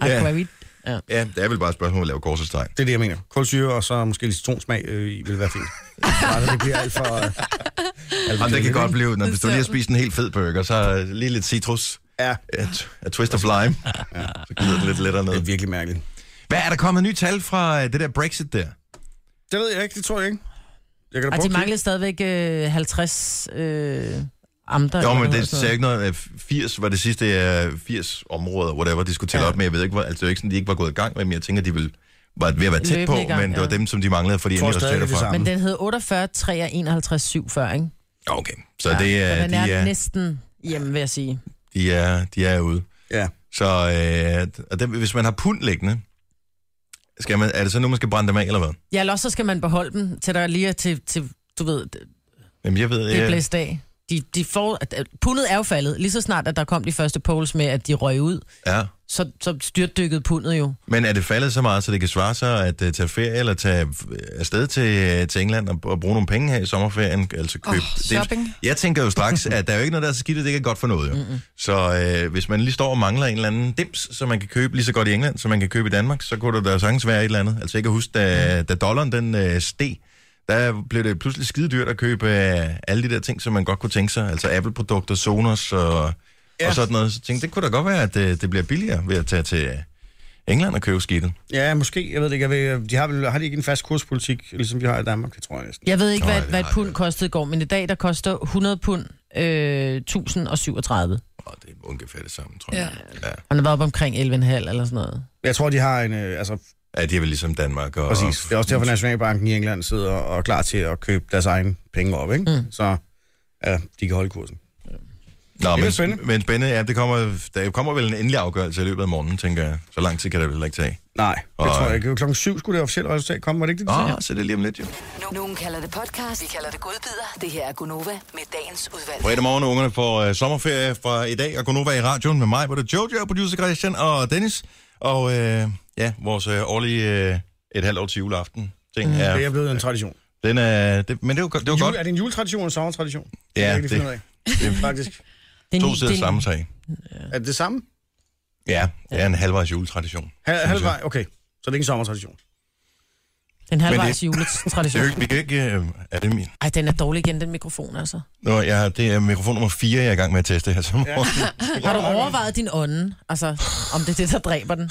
Aquavit. Ja.
Ja, det er vel bare et spørgsmål at lave kors og streg.
Det er det, jeg mener. Kulsyre og så måske citronsmag øh, i vil være fint. Bare det bliver alt for... Øh, alt for
Jamen, det kan
kedeligt,
godt
ikke?
blive, når
Det
hvis du lige har
ser du.
spist en helt fed burger, så øh, lige lidt citrus,
Ja,
et, et twist of lime, så glider det lidt lettere ned.
det er virkelig mærkeligt.
Hvad er der kommet nye tal fra øh, det der Brexit der?
Det ved jeg ikke, det tror jeg ikke. Jeg kan da
Og Altså, de
prøve at
manglede stadigvæk øh, 50 øh,
Jo,
amter. eller
men
noget
det ser
sådan noget.
ikke noget. øh, 80 var det sidste øh, 80 områder, whatever, de skulle tælle
Ja.
op med. Jeg ved ikke, hvor, altså det er jo ikke sådan, de ikke var gået i gang med, men jeg tænker, de ville, var ved at være tæt
Løbende
på,
i gang,
men det var
ja.
dem, som de manglede for de
Tror
endelige
stadig, det
resultater
er det
fra.
samme.
Men den hed 48, 3 og 51, 7 før, ikke?
Okay, så det er,
så den er,
de, er,
næsten hjemme, vil jeg sige.
de, er, de er ude.
Ja.
Så øh, og dem, hvis man har pund liggende, skal man, er det så nu, man skal brænde dem af, eller hvad?
Ja, eller også så skal man beholde dem til der lige er til, til du ved, det
Jamen, jeg ved,
er
jeg,
blæst af. De, de får, at- at- pundet er jo faldet, lige så snart, at der kom de første polls med, at de røg ud,
ja.
så, så styrtdykkede pundet jo.
Men er det faldet så meget, så det kan svare sig at uh, tage ferie eller tage øh, afsted til, uh, til England og, og bruge nogle penge her i sommerferien? Altså købe
Åh, shopping.
Jeg tænker jo straks, at der er jo ikke noget, der er så skidt, at det ikke er godt for noget. Jo. Mm-hmm. Så uh, hvis man lige står og mangler en eller anden dims, som man kan købe lige så godt i England, som man kan købe i Danmark, så kunne der da sagtens være et eller andet. Altså jeg kan huske, da, mm. da dollaren den uh, steg, der blev det pludselig skide dyrt at købe uh, alle de der ting, som man godt kunne tænke sig. Altså Apple-produkter, Sonos og, ja. og sådan noget. Så tænkte det kunne da godt være, at uh, det bliver billigere ved at tage til... øh, England og købe skidtet.
ja, måske. Jeg ved det ikke. Jeg ved, øh, de har, vel, har de ikke en fast kurspolitik, ligesom vi har i Danmark, det tror jeg næsten.
Jeg ved ikke,
Nå,
hvad,
ja, det
hvad et
har
pund
jeg.
kostede i går, men i dag, der koster 100 pund øh, 1037.
Og det er ungefær det samme, tror jeg. Ja. ja.
Og den var op omkring 11,5 eller sådan noget.
Jeg tror, de har en... Øh, altså,
ja de er vel ligesom Danmark. Og,
præcis. Det er også derfor, Nationalbanken i England sidder og er klar til at købe deres egen penge op, ikke? Mm. Så ja, de kan holde kursen.
Nå,
Det er
men,
spændende.
spændende. men spændende, ja, det kommer, der kommer vel en endelig afgørelse i løbet af morgenen, tænker jeg. Så lang tid kan det vel heller ikke tage.
Nej, det
Og-
tror jeg ikke. Det var Klokken syv skulle det officielle resultat komme, var det ikke det, de
Åh,
sagde?
oh, så er det lige om lidt, jo.
Nu- Nogen kalder det podcast, vi kalder det godbider. Det her er Gunova med dagens udvalgte.
Fredag morgen, ungerne får øh, sommerferie fra i dag, og Gunova i radioen med mig, hvor det er Jojo, producer Christian og Dennis. Og øh, ja, vores øh, årlige øh, et halvt år til juleaften ting mm.
Det
er,
er blevet en tradition.
den er, det, men det var, det var
Jul,
godt.
er det en juletradition og en sommertradition?
Ja,
jeg kan ikke
det-
finde ud af. det er faktisk.
Det er
To
ni-
sider
det er
samme
ni-
sag.
Er det det samme?
Ja, det er en halvvejs juletradition.
Hal- halvvej, okay. Så det er ikke en sommertradition.
Den halvvejs
det- Det er
juletradition.
jo ikke, vi kan ikke, øh, er det min?
Ej, den er dårlig igen, den mikrofon, altså.
Nå, ja, det er mikrofon nummer 4, jeg er i gang med at teste her som morgen.
Har du overvejet din ånde? Altså, om det er det, der dræber den?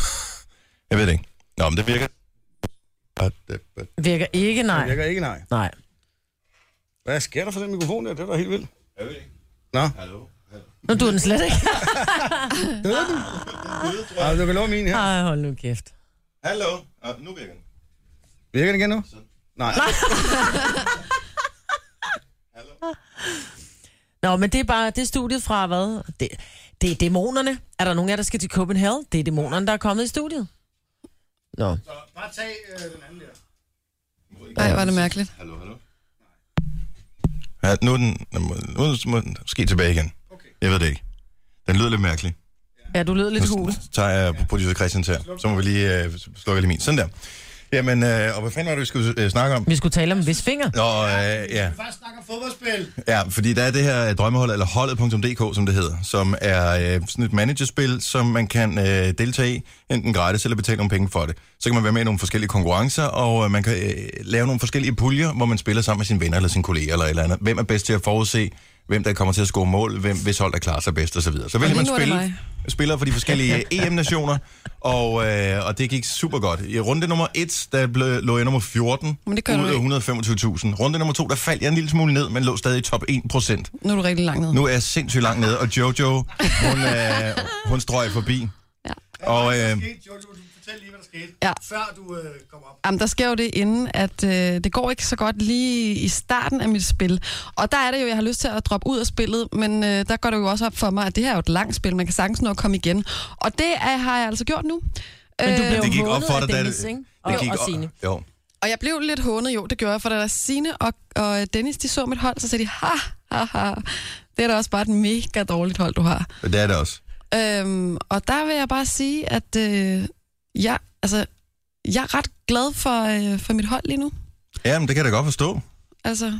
Jeg ved det ikke. Nå, men det virker. Og det-
Virker ikke, nej.
Det virker ikke, nej.
Nej.
Hvad sker der for den mikrofon der? Det er da helt vildt.
Nu du den slet ikke.
Døde den? Ah, du kan love min her.
Ej, hold nu kæft.
Hallo. Ah, nu virker den.
Virker den igen nu? Nej.
Nå, men det er bare, det er studiet fra hvad? Det, det er dæmonerne. Er der nogen af jer, der skal til Copenhagen? Det er dæmonerne, der er kommet i studiet. Nå.
Bare tag øh, den anden der.
Nej, var det mærkeligt.
Hallo, hallo. Ja, nu er den, nu må- nu må den måske tilbage igen. Okay. Jeg ved det ikke. Den lyder lidt mærkelig.
Ja, du lød lidt hul.
Nu tager jeg producer Christian til. Så må vi lige øh, slukke lige min. Sådan der. Jamen, øh, og hvad fanden var det, vi skulle øh, snakke om?
Vi skulle tale om hvis finger.
Nå, øh, ja.
Bare snakker fodboldspil.
Ja, fordi der er det her øh, drømmehold, eller holdet.dk, som det hedder, som er øh, sådan et managerspil, som man kan øh, deltage i, enten gratis eller betale nogle penge for det. Så kan man være med i nogle forskellige konkurrencer, og øh, man kan øh, lave nogle forskellige puljer, hvor man spiller sammen med sine venner eller sine kolleger eller et eller andet. Hvem er bedst til at forudse, hvem der kommer til at score mål, hvem, hvis hold der klarer sig bedst osv. Så vælger
lige
man
nu er det
spille,
mig.
spillere for de forskellige EM-nationer, og, øh, og det gik super godt. I runde nummer 1, der blev, lå jeg nummer 14
Men det gør du
ud af
ikke.
125.000. Runde nummer 2, der faldt jeg en lille smule ned, men lå stadig i top 1%.
Nu er du rigtig langt ned.
Nu er jeg sindssygt langt nede, og Jojo, hun, øh, hun strøg forbi.
Ja.
Og øh,
Fortæl lige, hvad der skete,
Ja.
før du øh, kommer op.
Jamen, der sker jo det inden, at øh, det går ikke så godt lige i starten af mit spil. Og der er det jo, jeg har lyst til at droppe ud af spillet, men øh, der går det jo også op for mig, at det her er jo et langt spil, man kan sagtens nå at komme igen. Og det er, har jeg altså gjort nu.
Men du
Øh,
blev
det gik op
hånet
for
af
dig, da
Dennis, ikke? Og- og
op-
Signe.
Jo.
Og jeg blev lidt hånet, jo, det gjorde jeg, for da Sine og, og Dennis, de så mit hold, så sagde de, ha, ha, ha, det er da også bare et mega dårligt hold, du har.
Det er det også.
Øhm, og der vil jeg bare sige, at øh, jeg, altså, jeg er ret glad for, øh, for mit hold lige nu.
Ja, men det kan jeg da godt forstå.
Altså,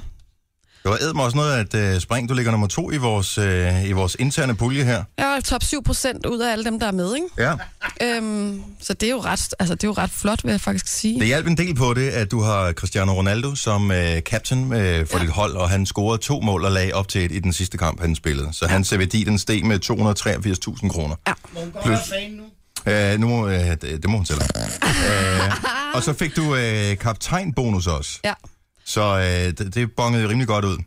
Det var æd mig også noget, at uh, Spring, du ligger nummer to i vores, uh, i vores interne pulje her.
Jeg er top 7 procent ud af alle dem, der er med, ikke?
Ja.
Øhm, så det er, jo ret, altså, det er jo ret flot, vil jeg faktisk sige.
Det hjalp en del på det, at du har Cristiano Ronaldo som øh, captain øh, for ja. dit hold, og han scorede to mål og lagde op til et i den sidste kamp, han spillede. Så hans værdi, den steg med 283.000 kroner.
Ja.
Må hun godt
Plus-
være fan nu?
Øh, nu må, øh, det, det må hun selv. øh, og så fik du øh, kaptajnbonus også,
Ja.
så øh, det, det bongede rimelig godt ud.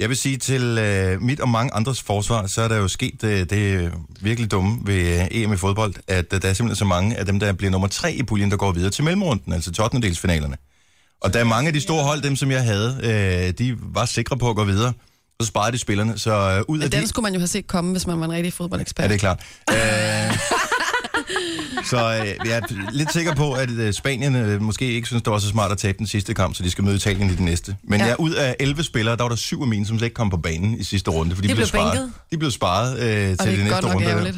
Jeg vil sige, til øh, mit og mange andres forsvar, så er der jo sket øh, det øh, virkelig dumme ved øh, EM i fodbold, at øh, der er simpelthen så mange af dem, der bliver nummer tre i puljen, der går videre til mellemrunden, altså til 8. Og der er mange af de store hold, dem som jeg havde, øh, de var sikre på at gå videre, så sparede de spillerne. Så øh, ud af de...
Den skulle man jo have set komme, hvis man var en rigtig
Ja,
fodboldekspert.
det er klart. Øh, så øh, jeg er lidt sikker på, at øh, Spanien øh, måske ikke synes, det var så smart at tabe den sidste kamp, så de skal møde Italien i den næste. Men ja.
Ja.
jeg, ud af 11 spillere, der var der syv af mine, som slet ikke kom på banen i sidste runde, for de,
De
blev
blev
sparet.
bænket.
De blev sparet øh,
Og
til
det
de
er godt
næste
nok
runde.
ærgerligt.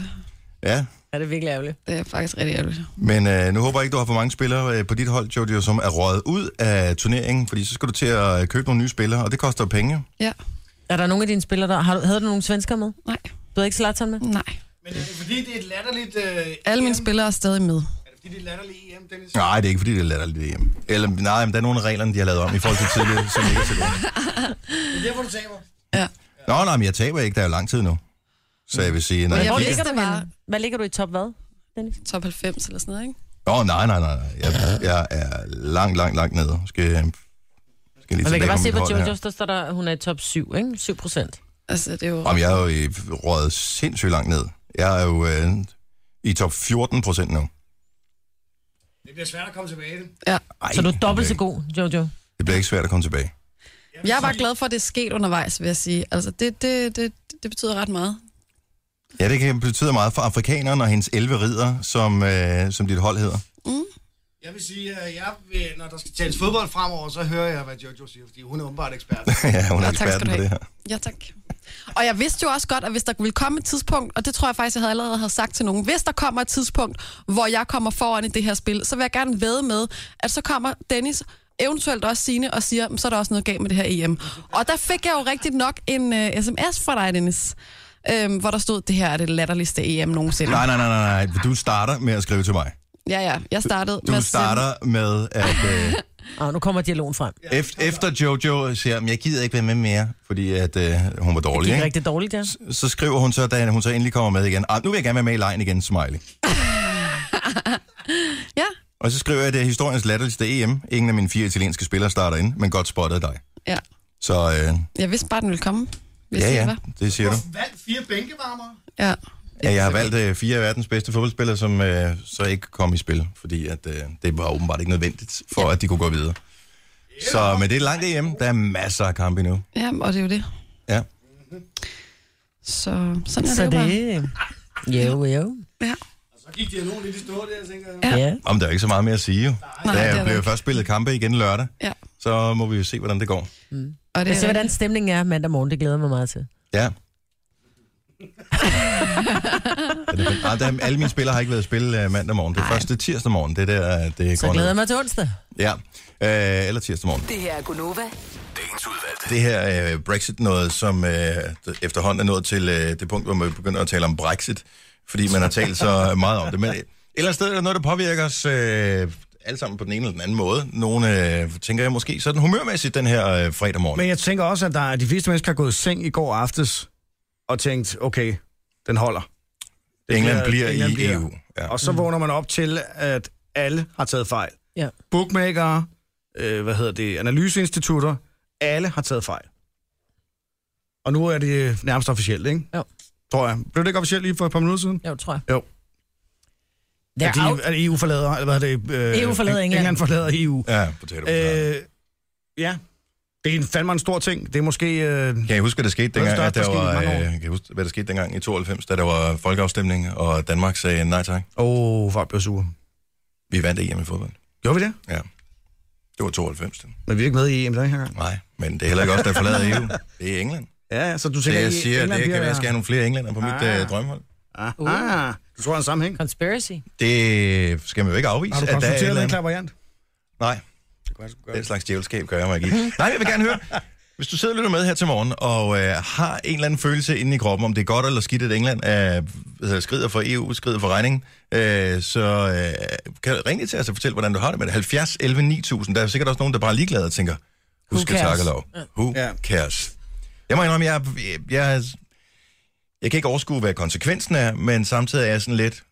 Ja,
Er det virkelig ærgerligt?
Det er faktisk rigtig ærgerligt.
men øh, nu håber jeg ikke, du har for mange spillere øh, på dit hold, Jojo, som er røget ud af turneringen, fordi så skal du til at øh, købe nogle nye spillere, og det koster jo penge.
Ja,
Er der nogen af dine spillere, der... Har du, havde du nogle svensker med?
nej,
Du havde ikke Zlatan med?
nej.
Men er det fordi, det er et latterligt... Øh,
Alle mine
EM?
spillere er stadig med.
Er det fordi, det er et latterligt EM, Dennis?
Nej, det er ikke, fordi det er latterligt hjemme. Eller, nej, men der er nogle af reglerne, de har lavet om i forhold til tidligere, som ikke er til gode.
Det er derfor, du taber.
Ja.
Nå, nej, men jeg taber ikke, der er jo lang tid nu. Så jeg vil sige, nej.
jeg
Hvor
vidste
ligger du
det bare.
henne? Hvad ligger du i top hvad? Dennis?
Top 90 eller sådan noget, ikke?
Nå, nej, nej, nej, nej. Jeg, jeg er langt, langt, langt nede. Skal, skal lige
Man
tilbage
kan
på
bare se
mit
på
hold her.
Jojo's, der står der, hun er i top 7, ikke? 7 procent.
Altså, det er jo...
Jamen, jeg er jo i røget sindssygt langt ned. Jeg er jo øh, i top 14 procent nu.
Det bliver svært at komme tilbage i det.
Ja.
Ej,
Så du er dobbelt så
det bliver
god, Jojo.
ikke- Det bliver ikke svært at komme tilbage.
Jeg er bare glad for, at det er sket undervejs, vil jeg sige. Altså, det, det, det, det betyder ret meget.
Ja, det kan betyde meget for afrikaneren og hendes 11 ridder, som, øh, som dit hold hedder.
Jeg vil sige, at jeg, vil- når der skal tales fodbold fremover, så hører jeg, hvad Jojo siger, fordi hun er åbenbart ekspert.
ja, hun er
Ja, tak skal
eksperten
du
på
have.
det her.
Ja, tak. Og jeg vidste jo også godt, at hvis der ville komme et tidspunkt, og det tror jeg faktisk, jeg havde allerede havde sagt til nogen, hvis der kommer et tidspunkt, hvor jeg kommer foran i det her spil, så vil jeg gerne væde med, at så kommer Dennis eventuelt også sine og siger, "Men så er der også noget galt med det her EM. Og der fik jeg jo rigtigt nok en uh, sms fra dig, Dennis, øhm, hvor der stod, det her er det latterligste EM nogensinde.
Nej, nej, nej, nej, nej. Du starter med at skrive til mig.
Ja, ja, jeg startede
Du
at sende-
starter med at... Øh,
Og nu kommer dialogen frem. Det
Efter, efter Jojo siger, at jeg gider ikke være med mere, fordi at, øh, hun var dårlig,
gik
ikke?
rigtig dårligt, ja.
så skriver hun så, da hun så endelig kommer med igen, ah, nu vil jeg gerne være med i lejen igen, smiley.
Ja,
Og så skriver jeg, at det er historiens latterligste EM. Ingen af mine fire italienske spillere starter ind, men godt spottet af dig.
ja.
Så øh,
Jeg vidste bare, den ville komme. Hvis
ja,
det
ja,
var.
det siger du.
Valgt fire bænkevarmere.
ja.
Ja, jeg har valgt øh, fire af verdens bedste fodboldspillere, som øh, så ikke kom i spil, fordi at, øh, det var åbenbart ikke nødvendigt for, at de kunne gå videre. Så, men det er et langt EM. Der er masser af kampe endnu.
ja, og det er jo det.
Ja.
Så sådan er
Så
det, jo bare.
det... Jo, jo.
Ja.
Og så gik dialogen lidt i stå der, tænker jeg.
Ja.
Ja.
Om der er ikke så meget mere at sige, jo.
Nej, det er
Der
der
bliver
ikke.
først spillet kampe igen lørdag,
Ja.
så må vi jo se, hvordan det går.
Og det
Jeg
er
ser, hvordan stemningen er mandag morgen. Det glæder jeg mig meget til.
Ja. Er det fedt? Nej, der, er- alle mine spillere har ikke været i spil øh, mandag morgen. Det er første tirsdag morgen, det er der, øh, det
Så
går
glæder
ned.
jeg mig til onsdag.
Ja, øh, eller tirsdag morgen.
Det her er Gunova.
Det her øh, Brexit noget, som øh, efterhånden er nået til øh, det punkt, hvor man begynder at tale om Brexit, fordi man har talt så meget om det. Men øh, et eller andet sted er der noget, der påvirker os øh, alle sammen på den ene eller den anden måde. Nogle øh, tænker jeg måske sådan humørmæssigt den her øh, fredag morgen.
Men jeg tænker også, at der er, de fleste mennesker har gået i seng i går aftes og tænkt, okay, den holder. Det
England bliver i EU. Ja.
Og så vågner man op til, at alle har taget fejl.
Ja.
Bookmakere, øh, hvad hedder det, analyseinstitutter, alle har taget fejl. Og nu er det nærmest officielt, ikke?
Jo.
Tror jeg. Blev det ikke officielt lige for et par minutter siden?
Jo, tror jeg.
Jo.
Ja,
at, de, at EU forlader, eller hvad er det? Øh,
EU forlader
Eng-
England. E
England forlader EU.
Ja, potato, potato.
Øh, ja. Det er en fandme en stor ting. Det er måske... Øh,
Kan I huske, hvad der skete
Noget
dengang,
større
at der
forskel i
var, øh,
mange år.
kan I huske, hvad der skete dengang i 92, da der var folkeafstemning, og Danmark sagde nej tak.
Åh, oh, folk blev sure.
Vi vandt EM i fodbold.
Gjorde vi det?
Ja. Det var 92. det.
Men vi er ikke med i EM den her gang.
Nej, men det er heller ikke os, der forlader EU. Det er England.
Ja, ja, så du
Det
tænker,
jeg
I-
siger,
England
det kan
bliver-
være, jeg skal have nogle flere englænder på mit
Ah.
øh, drømmehold.
Ah, ah, du tror, der er en sammenhæng.
Conspiracy.
Det skal man jo ikke afvise.
Har du
at der er et
konstateret
eller
en
andet-
klar variant?
Nej,
Det kunne jeg sgu gøre.
den slags djævelskab gør jeg mig ikke i. Nej, jeg vil gerne høre. Hvis du sidder og lytter med her til morgen, og øh, har en eller anden følelse inde i kroppen, om det er godt eller skidt, at England er, øh, skrider for EU, skrider for regningen, øh, så øh, kan du ringe til os og fortælle, hvordan du har det med det. 70 11 9000. Der er sikkert også nogen, der bare er ligeglade og tænker, husk at
cares?
takke lov. Who
Ja.
cares? Jeg må indrømme, jeg, jeg, jeg, jeg kan ikke overskue, hvad konsekvensen er, men samtidig er jeg sådan lidt,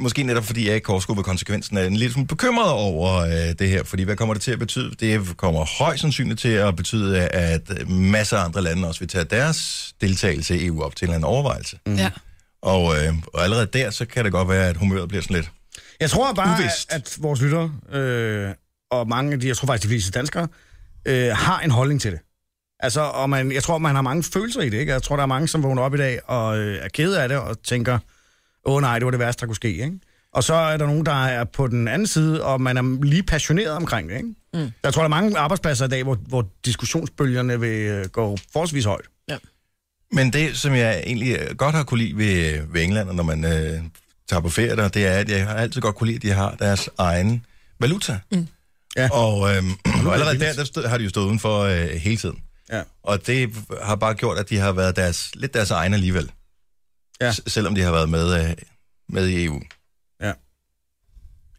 måske netop fordi jeg ikke kan overskue, hvad konsekvensen er, en lille smule bekymret over øh, det her, fordi hvad kommer det til at betyde? Det kommer højst sandsynligt til at betyde, at masser af andre lande også vil tage deres deltagelse i EU op til en eller anden overvejelse. Mm.
Ja.
Og, øh, og allerede der, så kan det godt være, at humøret bliver sådan lidt.
Jeg tror bare, at,
Uvist.
at vores lyttere, øh, og mange af de, jeg tror faktisk de fleste danskere, øh, har en holdning til det. Altså, og man, jeg tror, man har mange følelser i det, ikke? Jeg tror, der er mange, som vågner op i dag og øh, er kede af det og tænker, åh nej, det var det værste, der kunne ske, ikke? Og så er der nogen, der er på den anden side, og man er lige passioneret omkring det, ikke? Mm. Jeg tror, der er mange arbejdspladser i dag, hvor, hvor diskussionsbølgerne vil øh, gå forholdsvis højt.
Men det, som jeg egentlig øh, godt har kunne lide ved, ved England, og når man øh, tager på ferie der, det er, at jeg har altid godt kunne lide, at de har deres egen valuta. Mm.
Ja.
Og, øh, og allerede
vildt.
der, der stod, har de jo stået udenfor øh, hele tiden.
Ja.
Og det har bare gjort, at de har været deres, lidt deres egen alligevel.
Ja.
S- selvom de har været med, øh, med i EU.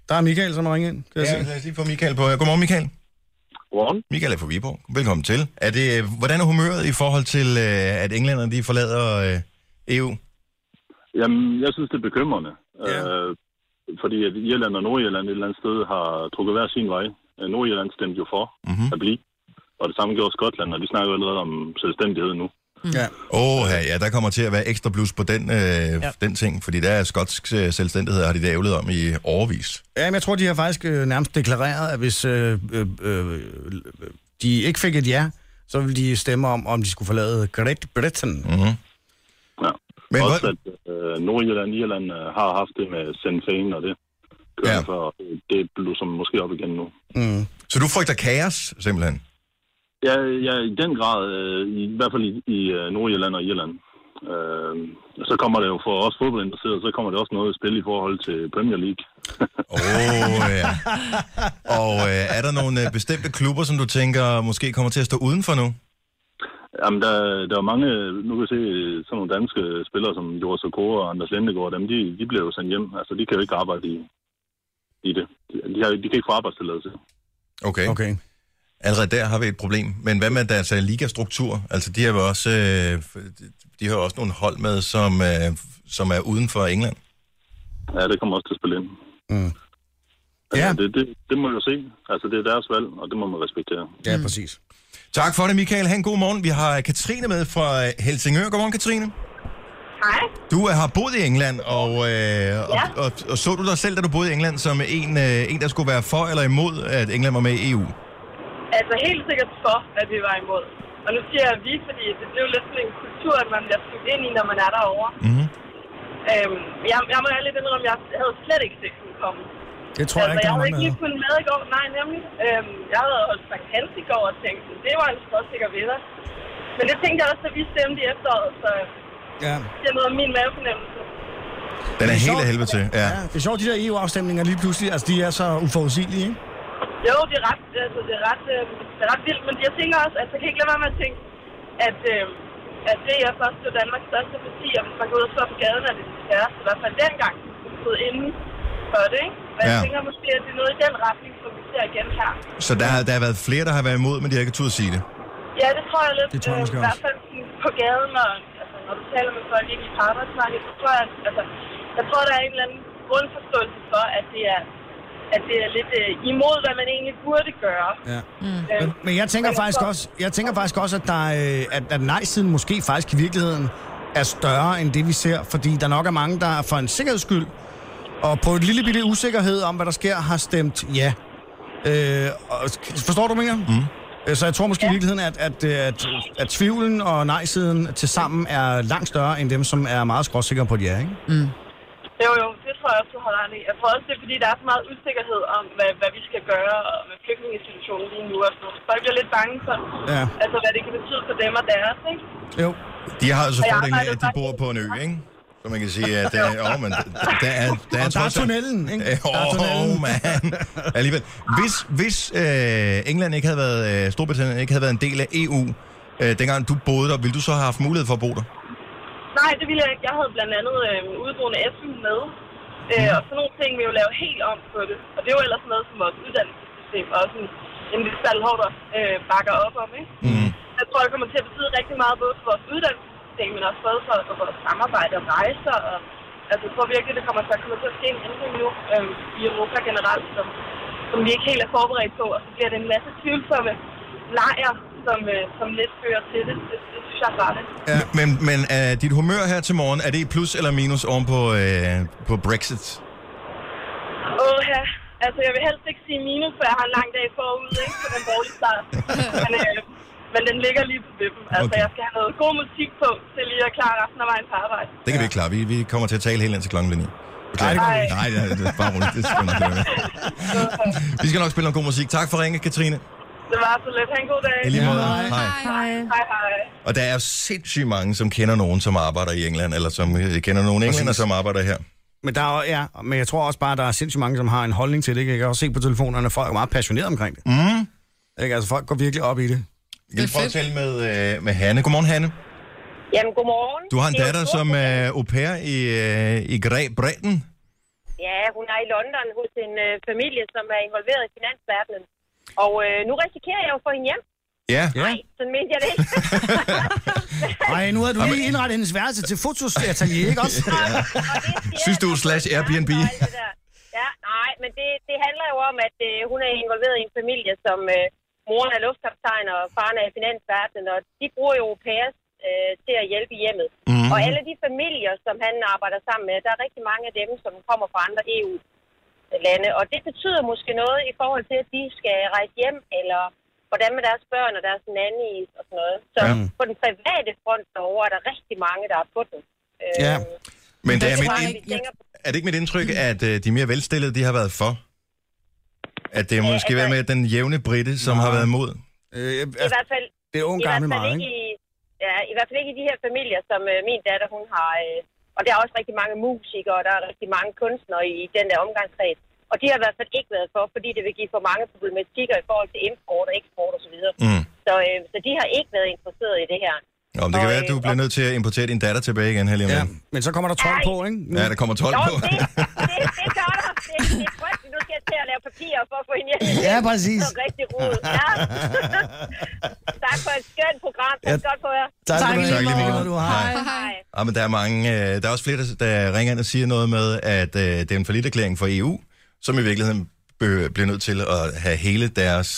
Der er Michael, som har ringet ind, kan jeg
Ja,
ja. se.
lad os lige få Michael på. Godmorgen, Michael.
Godmorgen.
Michael er fra Viborg. Velkommen til. Er det, øh, hvordan er humøret i forhold til, øh, at englænderne de forlader øh, EU?
Jamen, jeg synes, det er bekymrende.
Ja.
Ja. Øh, fordi at Irland og Nordjylland et eller andet sted har trukket hver sin vej. Øh, Nordjylland stemte jo for
Mhm.
mm-hmm. at blive. Og det samme gjorde Skotland, og de snakker jo allerede om selvstændighed nu.
Ja.
Åh, oh, ja, der kommer til at være ekstra plus på den, øh, ja. den ting, fordi der er skotsk øh, selvstændighed, har de ævlet om i overvis.
Ja, men jeg tror, de har faktisk øh, nærmest deklareret, at hvis øh, øh, øh, de ikke fik et ja, så ville de stemme om, om de skulle forlade Great Britain. Mm.
Ja.
Men
Men Også
hvor-
at øh, Nordjylland og Irland øh, har haft det med Sinn Féin og det.
Ja.
Ja. For, det blev som måske op igen nu.
Så du frygter kaos, simpelthen?
Ja, ja i den grad, øh, i, i hvert fald i, i øh, Nordjylland og Irland. Øh, og så kommer det jo for os fodboldinteresserede, så kommer det også noget at spille i forhold til Premier League.
Åh, oh, ja. Og øh, er der nogle øh, bestemte klubber, som du tænker måske kommer til at stå udenfor nu?
Jamen, der, der er mange, nu kan jeg se sådan nogle danske spillere som Joris Okora og Anders Lindegård, dem, de, de bliver jo sendt hjem. Altså, de kan jo ikke arbejde i, i det. De, de, har, de kan ikke få arbejdstilladelse.
Okay. okay.
Okay.
Allerede der har vi et problem. Men hvad med deres øh, ligastruktur? Altså, de har jo også, øh, de har jo også nogle hold med, som, øh, som er uden for England.
Ja, det kommer også til at spille ind.
Mm.
Altså,
Ja.
det, det, det må jo se. Altså, det er deres valg, og det må man respektere.
Ja, mm. præcis.
Tak for det, Michael. Ha' en god morgen. Vi har Katrine med fra øh, Helsingør. Godmorgen, Katrine.
Hej.
Du øh, har boet i England, og, øh, ja. og, og, og så du dig selv, da du boede i England, som en, øh, en, der skulle være for eller imod, at England var med i E Mhm. EU?
Altså helt sikkert for, at vi var imod. Og nu siger jeg vi, fordi det blev lidt sådan en kultur, at man bliver skudt ind i, når man er derovre.
Mhm.
Øhm, jeg, jeg må lidt indrømme, at jeg havde slet ikke set den komme.
Det tror jeg
altså,
ikke, der
jeg
er
havde
nogen, der
ikke lige kunnet med i går. Nej, nemlig. Øhm, jeg havde holdt Sankt i går og tænkt, det var en skråsikker vinder. Men det tænkte jeg også, at vi stemte i efteråret, så
Ja.
det er noget af min mavefornemmelse.
Den er
Det er
helt
sjovt.
af helvede til. Ja.
ja. Det er sjovt, de der EU-afstemninger lige pludselig, altså de er så uforudsigelige, ikke?
Jo, det er ret, altså, det er ret, øh, det er ret vildt, men jeg tænker også, altså, jeg kan ikke lade være med at tænke, at, øh, at DF også blev Danmarks største parti, og hvis man går ud og står på gaden, er det desværre, i hvert fald dengang, som stod inde for det, ikke? Men ja. jeg
Ja.
tænker måske, at det er noget i den retning, som vi ser igen her.
Så der, har- der har været flere, der har været imod, men de har ikke turde sige det.
Ja, det tror jeg lidt, øhm,
Det tror jeg måske
i hvert
også.
fald sådan på gaden, og altså, når du taler med folk ikke i på arbejdsmarkedet, så tror jeg, at- altså, jeg tror, der er en eller anden grundforståelse for, at det er, at det er lidt øh, imod, hvad man egentlig burde gøre.
Ja.
Øh,
Men, men jeg tænker faktisk også, jeg tænker faktisk også at, der, øh, at, at nej-siden måske faktisk i virkeligheden er større end det, vi ser, fordi der nok er mange, der for en sikkerheds skyld og på et lille bitte usikkerhed om, hvad der sker, har stemt ja. Øh, og, forstår du, hvad jeg mener? Mm. Så jeg tror måske i virkeligheden, at, at, øh, at, at tvivlen og nej-siden til sammen er langt større end dem, som er meget skråsikre på et ja, ikke?
Jo, jo, det tror jeg også, du har ret i. Jeg tror også, det er, fordi der er så meget usikkerhed om, hvad, hvad vi skal gøre og med flygtningesituationen lige nu. Og sådan. noget. Folk bliver lidt bange for,
Ja.
ja. altså, hvad det kan betyde for dem og deres, ikke?
Jo.
De har altså
Og jeg
fordelen af,
arbejder
at de bor
faktisk-
på en ø, ikke? Så man kan sige, at øh, åh, men, der er, der er,
Og der er
trods alt-
tunnelen, ikke?
Øh,
Der
Åh,
er
oh,
tunnelen.
man. Alligevel. Hvis, hvis øh, England ikke havde været, øh, Storbritannien ikke havde været en del af EU, øh, dengang du boede der, ville du så have haft mulighed for at bo der?
Nej, det ville jeg ikke. Jeg havde blandt andet øh, udgående SU med. Øh, og sådan nogle ting vil jo lave helt om på det. Og det er jo ellers noget, som vores uddannelsessystem og sådan en lille salghårder øh, bakker op om. Ikke?
Mm.
Jeg tror, det kommer til at betyde rigtig meget både for vores uddannelsessystem, men også både for, for vores samarbejde og rejser. Og, altså, jeg tror virkelig, det kommer, der kommer til at ske en ændring nu øh, i Europa generelt, som, som vi ikke helt er forberedt på. Og så bliver det en masse tvivlsomme lejer, som, øh, som lidt fører til det. Det, det synes jeg er farligt.
Ja. Men, men er dit humør her til morgen, er det i plus eller minus oven på, øh, på Brexit?
Åh, ja. Altså, jeg vil helst ikke sige minus, for jeg har en lang dag forud, ikke? På den dårlige start. men, øh, men den ligger lige på vippen.
Okay.
Altså, okay. jeg skal have noget god musik på, til lige at klare resten af vejen på arbejde.
Det kan ja. vi ikke klare. Vi, vi kommer til at tale helt ind til klokken lige ni.
Nej, det
kommer vi ikke.
Nej, det er, det er bare roligt. Det skal man ikke gøre. Vi skal nok spille noget god musik. Tak for ringe, Katrine.
Det var så lidt. Ha' en god dag.
I lige måde.
hej.
Hej.
Hej, hej.
Og der er jo sindssygt mange, som kender nogen, som arbejder i England, eller som øh, kender nogen englænder, som arbejder her.
Men, der er, jo- ja, men jeg tror også bare, at der er sindssygt mange, som har en holdning til det. Ikke? Jeg kan også se på telefonerne, at folk er meget passionerede omkring det. Mm. Ikke? Altså, folk går virkelig op i det.
Jeg vil prøve at
fedt.
tale med, øh, med Hanne. Godmorgen, Hanne.
Jamen, godmorgen.
Du har en
Det er
datter,
jo-
som er au pair i, øh, i Græ Bretten.
Ja, hun er i London hos en øh, familie, som er involveret i finansverdenen. Og øh, nu risikerer jeg jo for hende hjem.
Ja.
Ja.
Sådan mente jeg det ikke.
Ej, nu har du lige indrettet hendes værelse til fotosatelier, ikke også?
Og det sker,
Synes du,
at-
slash Airbnb?
og alt det der. Ja, nej, men det, det handler jo om, at øh, hun er involveret i en familie, som øh, moren er luftkaptajn og faren er i finansverdenen, og de bruger jo au pairs øh, til at hjælpe i hjemmet.
Mhm.
Mm. Og alle de familier, som han arbejder sammen med, der er rigtig mange af dem, som kommer fra andre EU-lande, og det betyder måske noget i forhold til, at de skal rejse hjem, eller hvordan med deres børn og deres nannies og sådan noget. Så
Ja.
ja. på den private front derovre er der rigtig mange, der er på den. Øh,
Ja.
Men det er,
Det
mit,
tror jeg
ind-
ikke.
vi tænker på
er det ikke mit indtryk, at øh, de mere velstillede, de har været for? At det måske
altså-
være med den jævne britte, som
Nej.
har været imod?
Øh,
I
altså,
hvert fald,
det er ung
i hvert
gammel
fald
meget,
ikke
ikke?
i, ja, i hvert fald ikke i de her familier, som øh, min datter, hun har... Øh, og der er også rigtig mange musikere, og der er rigtig mange kunstnere i, den der omgangskreds. Og de har i hvert fald ikke været for, fordi det vil give for mange problematikker i forhold til import og eksport osv. Så, videre.
Mm.
så, øh, så de har ikke været interesseret i det her.
Nå, men det
Og,
kan være,
øh,
at du bliver nødt til at importere din datter tilbage igen her lige om
Ja,
lidt.
men så kommer der 12 på, ikke? Nu-
Ja, der kommer 12
Nå,
på.
det, det, det gør der. Det, det er frygteligt. Nu skal jeg til at lave papirer for at få hende hjem.
Ja, præcis.
Det er rigtig rodet. Ja. tak for et skønt program. Tak
Ja.
godt for jer.
Tak,
Tak
tak,
lige
tak lige
meget.
meget. Du har.
Hej.
Hej.
Ja, men der er mange, øh, der er også flere, der, der ringer ind og siger noget med, at øh, det er en forlitterklæring for EU, som i virkeligheden bø- bliver nødt til at have hele deres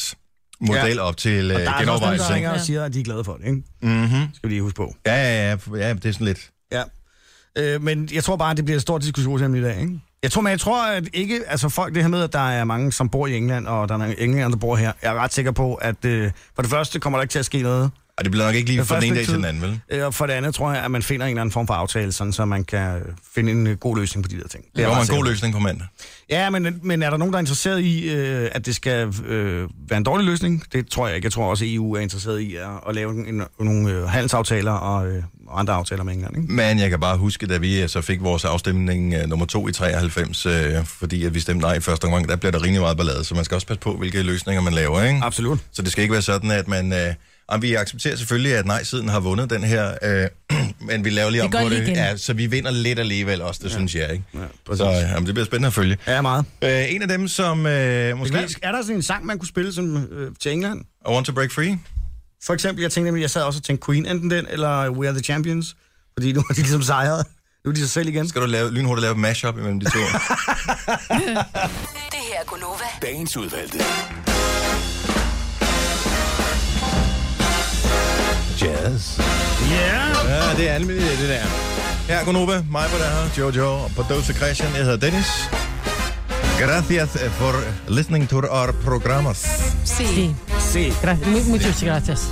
model
Ja.
op til øh,
Der er altså også dem,
genovervejelse.
der ringer
ikke? Mhm.
og siger, at de er glade for det, ikke? Mm-hmm. Skal vi lige huske på.
Ja, ja, ja, ja, det er sådan lidt.
Ja. Øh, men jeg tror bare, at det bliver et stort diskussionsemne i dag, ikke? Jeg tror, men jeg tror, at ikke, altså folk, det her med, at der er mange, som bor i England, og der er nogle englænder, der bor her. Jeg er ret sikker på, at øh, for det første kommer der ikke til at ske noget.
Og det bliver nok ikke lige
Den
fra den ene
første
dag til den
tid.
anden, vel?
Øh, og for det andet tror jeg, at man finder en eller anden form for aftale, sådan, så man kan øh, finde en øh, god løsning på de der ting. Det er
Det
jeg
var
ret
en
sikker
god
på.
løsning på mandag.
Ja, men, men er der nogen, der er interesseret i, øh, at det skal øh, være en dårlig løsning? Det tror jeg ikke. Jeg tror også, at EU er interesseret i at, at lave en, en, nogle øh, handelsaftaler og øh, og andre aftaler med England. Ikke?
Men jeg kan bare huske, da vi øh, så fik vores afstemning øh, nummer to i 93, øh, fordi at vi stemte nej i første omgang, der blev der rimelig meget ballade, så man skal også passe på, hvilke løsninger man laver, ikke?
Absolut.
Så det skal ikke være sådan, at man... Øh, jamen, vi accepterer selvfølgelig, at nej-siden har vundet den her, øh, men vi laver lige
Vi
om
gør
på
lige
det.
igen.
Ja, så vi vinder lidt alligevel også, det ja. synes jeg, ikke? Ja,
præcis.
så øh, jamen, det bliver spændende at følge.
Ja, meget.
Øh, en af dem, som øh, måske...
Er der sådan en sang, man kunne spille som, øh, til England?
I want to break free?
For eksempel, jeg tænkte nemlig, jeg sad også og tænkte Queen, enten den eller We Are The Champions, fordi nu har de ligesom sejret. Nu er de sig selv igen.
Skal du lave, lynhurtigt lave et mashup imellem de to?
Det her er Gunova.
Dagens udvalgte.
Jazz.
Yeah.
Ja, det er almindeligt, det der. Her er Gunnova, mig på der her, Jojo og producer Christian. Jeg hedder Dennis. Gracias eh, for listening to our programas.
Se.
Sí.
Se.
Gra- mu- Muchas gracias.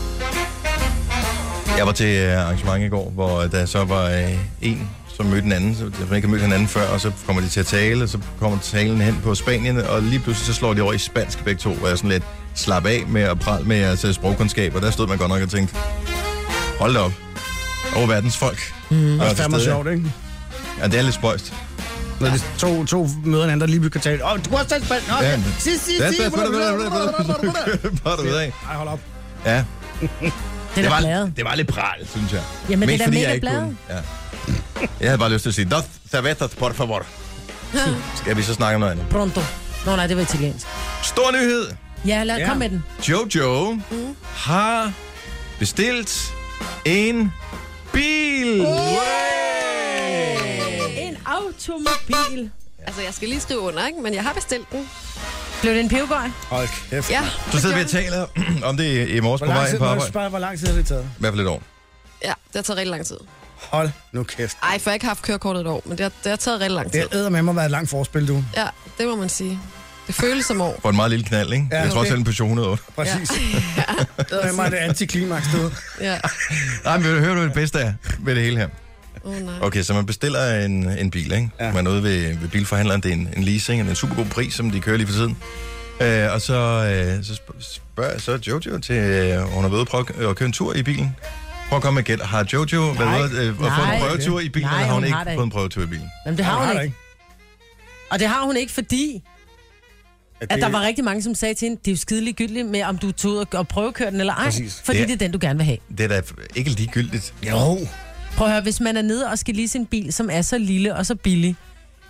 Jeg var til øh, arrangement i går, hvor øh, der så var øh, en, som mødte en anden, som ikke har mødt hinanden før, og så kommer de til at tale, og så kommer talen hen på Spanien, og lige pludselig så slår de over i spansk begge to, hvor jeg sådan lidt slap af med at prale med jeres øh, sprogkundskab, og der stod man godt nok og tænkte, hold da op, over verdens folk. Mm,
Det er fandme sjovt, ikke?
Ja, det er lidt spøjst.
Når det er to, to møder hinanden, der lige pludselig kan tale, åh, du kan også tale spansk. Nå,
Ja.
ja. Si, si, si.
Ja, det er spøjst. Bare derudad.
Ej, hold op.
Ja,
Det
det
er da
var,
bladet.
det var lidt pral, synes jeg.
Jamen, det
Mest
er da
fordi,
mega
jeg ikke
bladet.
kunne- Ja. Jeg havde bare lyst til at sige, dos cervezas, por favor. Skal vi så snakke om noget andet?
Pronto. Nå nej, det var italiensk.
Stor nyhed.
Ja, lad,
Ja.
ja. kom med den.
Jojo mm. har bestilt en bil.
En automobil.
Altså, jeg skal lige skrive under, ikke? Men jeg har bestilt den.
Blev det en pivgøj?
Hold kæft.
Ja.
Du sidder ved at tale om det i morges på
Hvor lang,
vej
tid,
på
må jeg
arbejde.
spørge, hvor lang tid har det taget?
I hvert fald et år.
Ja, det har taget rigtig lang tid.
Hold nu kæft.
Ej, for jeg har ikke haft kørekortet et år, men det har, det har taget rigtig lang
Det
tid.
æder med mig været et langt forspil, du.
Ja, det må man sige. Det føles som år.
For en meget lille knald, ikke?
Ja,
jeg tror
okay.
selv en Peugeot 108.
Præcis. Ja. Æder med mig det antiklimaks, du.
Ja.
Nej, men vil du høre, hvad det bedste er ved det hele her?
Oh, nej.
Okay, så man bestiller en, en bil, ikke? Ja.
Ja.
Man er ude ved, ved bilforhandleren, det er en, en leasing, og det er en super god pris, som de kører lige for tiden. Øh, og så, øh, så sp- spørger jeg så Jojo til, øh, hun har været ude at prøve at køre en tur i bilen. Prøv at komme med gæld. Har Jojo nej, været ude øh, og fået en
Nej.
prøvetur i bilen,
Nej,
eller har hun,
hun
ikke
har det
fået en prøvetur i bilen?
Jamen, det har
Nej,
hun
det
ikke. Og det har hun ikke, fordi
At
at der var rigtig mange, som sagde til hende, det er jo skide ligegyldigt med, om du tog ud og- og prøvekørte den eller ej.
Præcis.
Fordi
Ja.
ja. det er den, du gerne vil have.
Det er da ikke ligegyldigt.
Jo.
Prøv at høre, hvis man er nede og skal lease en bil, som er så lille og så billig,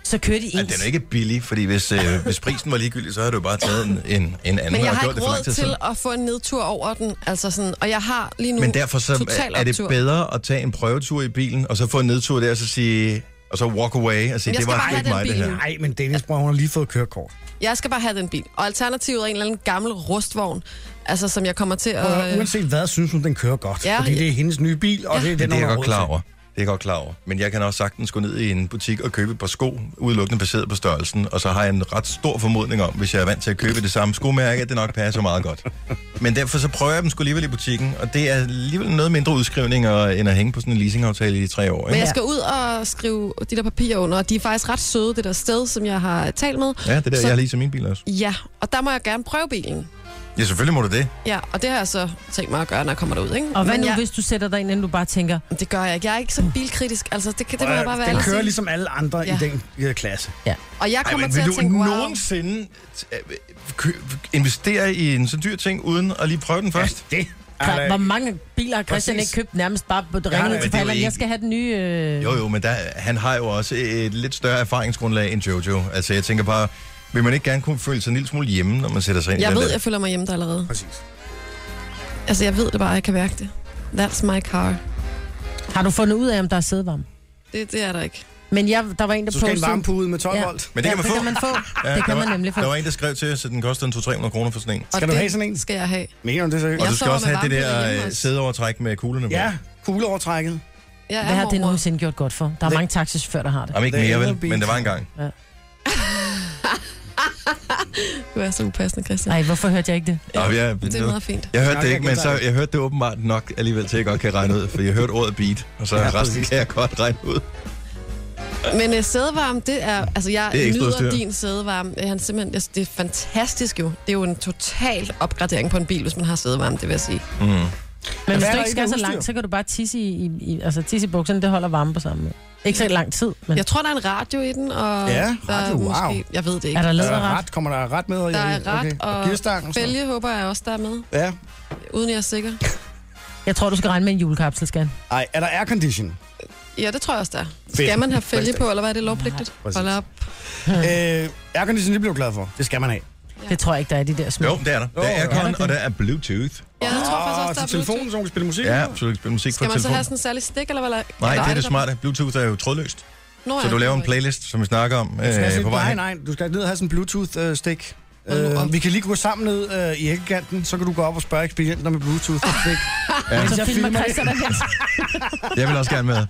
så kører de ens.
Altså, den er ikke billig, fordi hvis, øh, hvis prisen var ligegyldig, så havde du jo bare taget en, en, en anden.
Men jeg
og
har
gjort
ikke
det for lang
råd
tid
til
siden.
at få en nedtur over den. Altså sådan, og jeg har lige nu
Men derfor så
total
er, er det
optur.
bedre at tage en prøvetur i bilen, og så få en nedtur der, og så sige, og så walk away og sige,
Jeg
det
skal
var
bare
ikke
have
mig,
den
det
bil
her.
nu.
Nej, men Dennis, bror, hun har lige fået kørekort.
Jeg skal bare have den bil. Og alternativet er en eller anden gammel rustvogn, altså som jeg kommer til
Og
at... Øh,
uanset hvad, synes hun, den kører godt.
Ja.
fordi det er hendes nye bil, og
Ja.
det er
Men
den,
det er
hun
jeg
har
godt
råd
klar
til.
over. Det er jeg godt klar over. Men jeg kan også sagtens gå ned i en butik og købe et par sko, udelukkende baseret på størrelsen, og så har jeg en ret stor formodning om, hvis jeg er vant til at købe det samme skomærke, at det nok passer meget godt. Men derfor så prøver jeg dem sgu alligevel i butikken, og det er alligevel noget mindre udskrivning og- end at hænge på sådan en leasingaftale i tre år.
men
Ikke?
jeg skal ud og skrive de der papirer under, og de er faktisk ret søde, det der sted, som jeg har talt med.
Ja, det er der,
så,
jeg har lige til min bil også.
Ja, og der må jeg gerne prøve bilen.
Ja, selvfølgelig må du det.
Ja, og det har jeg så tænkt mig at gøre, når jeg kommer derud, ikke?
Og hvad
Men
nu,
jeg,
hvis du sætter dig ind, inden du bare tænker,
Det gør jeg ikke. Jeg er ikke så bilkritisk. Altså, det, kan, det må jeg bare være
Den
ærlig at
kører
sige.
ligesom alle andre ja. i
Ja.
den øh, klasse.
Og jeg
Ej,
kommer
men
til
vil
at
du
tænke, wow.
nogensinde øh, kø- investere i en så dyr ting, uden at lige prøve den først?
det
klar, hvor mange biler har Christian
Præcis.
ikke købt nærmest bare på
nej,
ringet
men
til
det er jo
Pallan, jeg
ikke-
skal have den nye... Øh...
Jo, jo, men der, han har jo også et lidt større erfaringsgrundlag end Jojo. Altså, jeg tænker bare, vil man ikke gerne kunne føle sig en lille smule hjemme, når man sætter sig ind i
Jeg
den
ved,
der?
jeg føler mig hjemme der allerede.
Præcis.
Altså, jeg ved det bare, jeg kan mærke det. That's my car.
Har du fundet ud af, om der er sædevarme?
Det, det er der ikke.
Men jeg, der var en, der
Så skal en
postede-
varmepude ud med 12
Ja.
volt.
Men det kan man
ja,
få.
det kan man få.
Ja,
det
der
kan man
var-
nemlig få.
Der var en, der skrev til os, at den koster en 200-300 kroner for sådan en.
Og
Skal du
det
have sådan en?
skal jeg have.
Mener du det seriøst?
Og
Jeg
du skal
sover
også
med
have det
varmepulver
der
hjemme
øh,
også.
sædeovertræk med kuglerne på.
Ja, kugleovertrækket.
Jeg er
Hvad har det
mormor.
nogensinde gjort godt for? Der er mange taxichauffører, der har det.
Jamen ikke
Det er
mere, vel?
elbil.
Men det var engang.
Du er så upassende, Christian.
Nej, hvorfor hørte jeg ikke det?
Ja, jeg,
Det er meget fint.
jeg hørte
Nå,
det
jeg
ikke, men så,
gentager det.
jeg hørte det åbenbart nok alligevel til, at jeg godt kan regne ud. For jeg hørte ordet beat, og så
Ja,
resten
præcis.
kan jeg godt regne ud.
Men øh, sædevarme, det er... Altså, jeg
Det er
det er
ekstra udstyr.
nyder din sædevarme. Øh, Han simpelthen, altså, det er fantastisk jo. Det er jo en total opgradering på en bil, hvis man har sædevarme, det vil jeg sige.
Men hvis
er
du
der
ikke
ikke af
skal så
udstyr?
langt, så kan du bare tisse i, i, i, altså tisse i bukserne, det holder varme på samme måde. Ikke så lang tid, men
Jeg tror, der er en radio i den, og...
Ja,
der er
radio, wow.
Jeg ved det
er
ikke.
der
Der er
læderret?
ret, kommer der ret med?
Der er ret,
okay. og gearstangen.
og
sådan noget.
bælge håber jeg også, der er med,
Ja.
uden jeg er sikker.
Jeg tror, du skal regne med en julekapsel, skal han.
Ej, er der aircondition?
Ja, det tror jeg også, der er. Skal man have fælge på, eller hvad er det lovpligtigt?
præcis.
Hold op.
Øh, aircondition, det blev jeg glad for. Det skal man have.
Det tror jeg ikke, der er i de der små.
Jo, det er der. Der er
Jo,
aircon, og der er bluetooth.
Ja, jeg tror faktisk også,
Og
der
til
er
telefonen,
Bluetooth.
så hun kan spille musik.
Ja, så du kan spille musik på
Skal man så
telefonen.
have sådan en særlig stik, eller hvad? eller-
Nej,
eller
det er det
der-
smarte. Bluetooth er jo trådløst.
Nå,
Så
ja,
du laver en
det er
playlist, som vi snakker om
Du skal have
øh,
sådan-
på vej.
nej,
hen.
nej, du skal ned og have sådan en Bluetooth-stik.
Og nu op.
Øh, vi kan lige gå sammen ned øh, i æggekanten, så kan du gå op og spørge ekspedienter med Bluetooth-stik.
Ja.
Så filmer Christian og Hans.
Jeg vil også gerne med.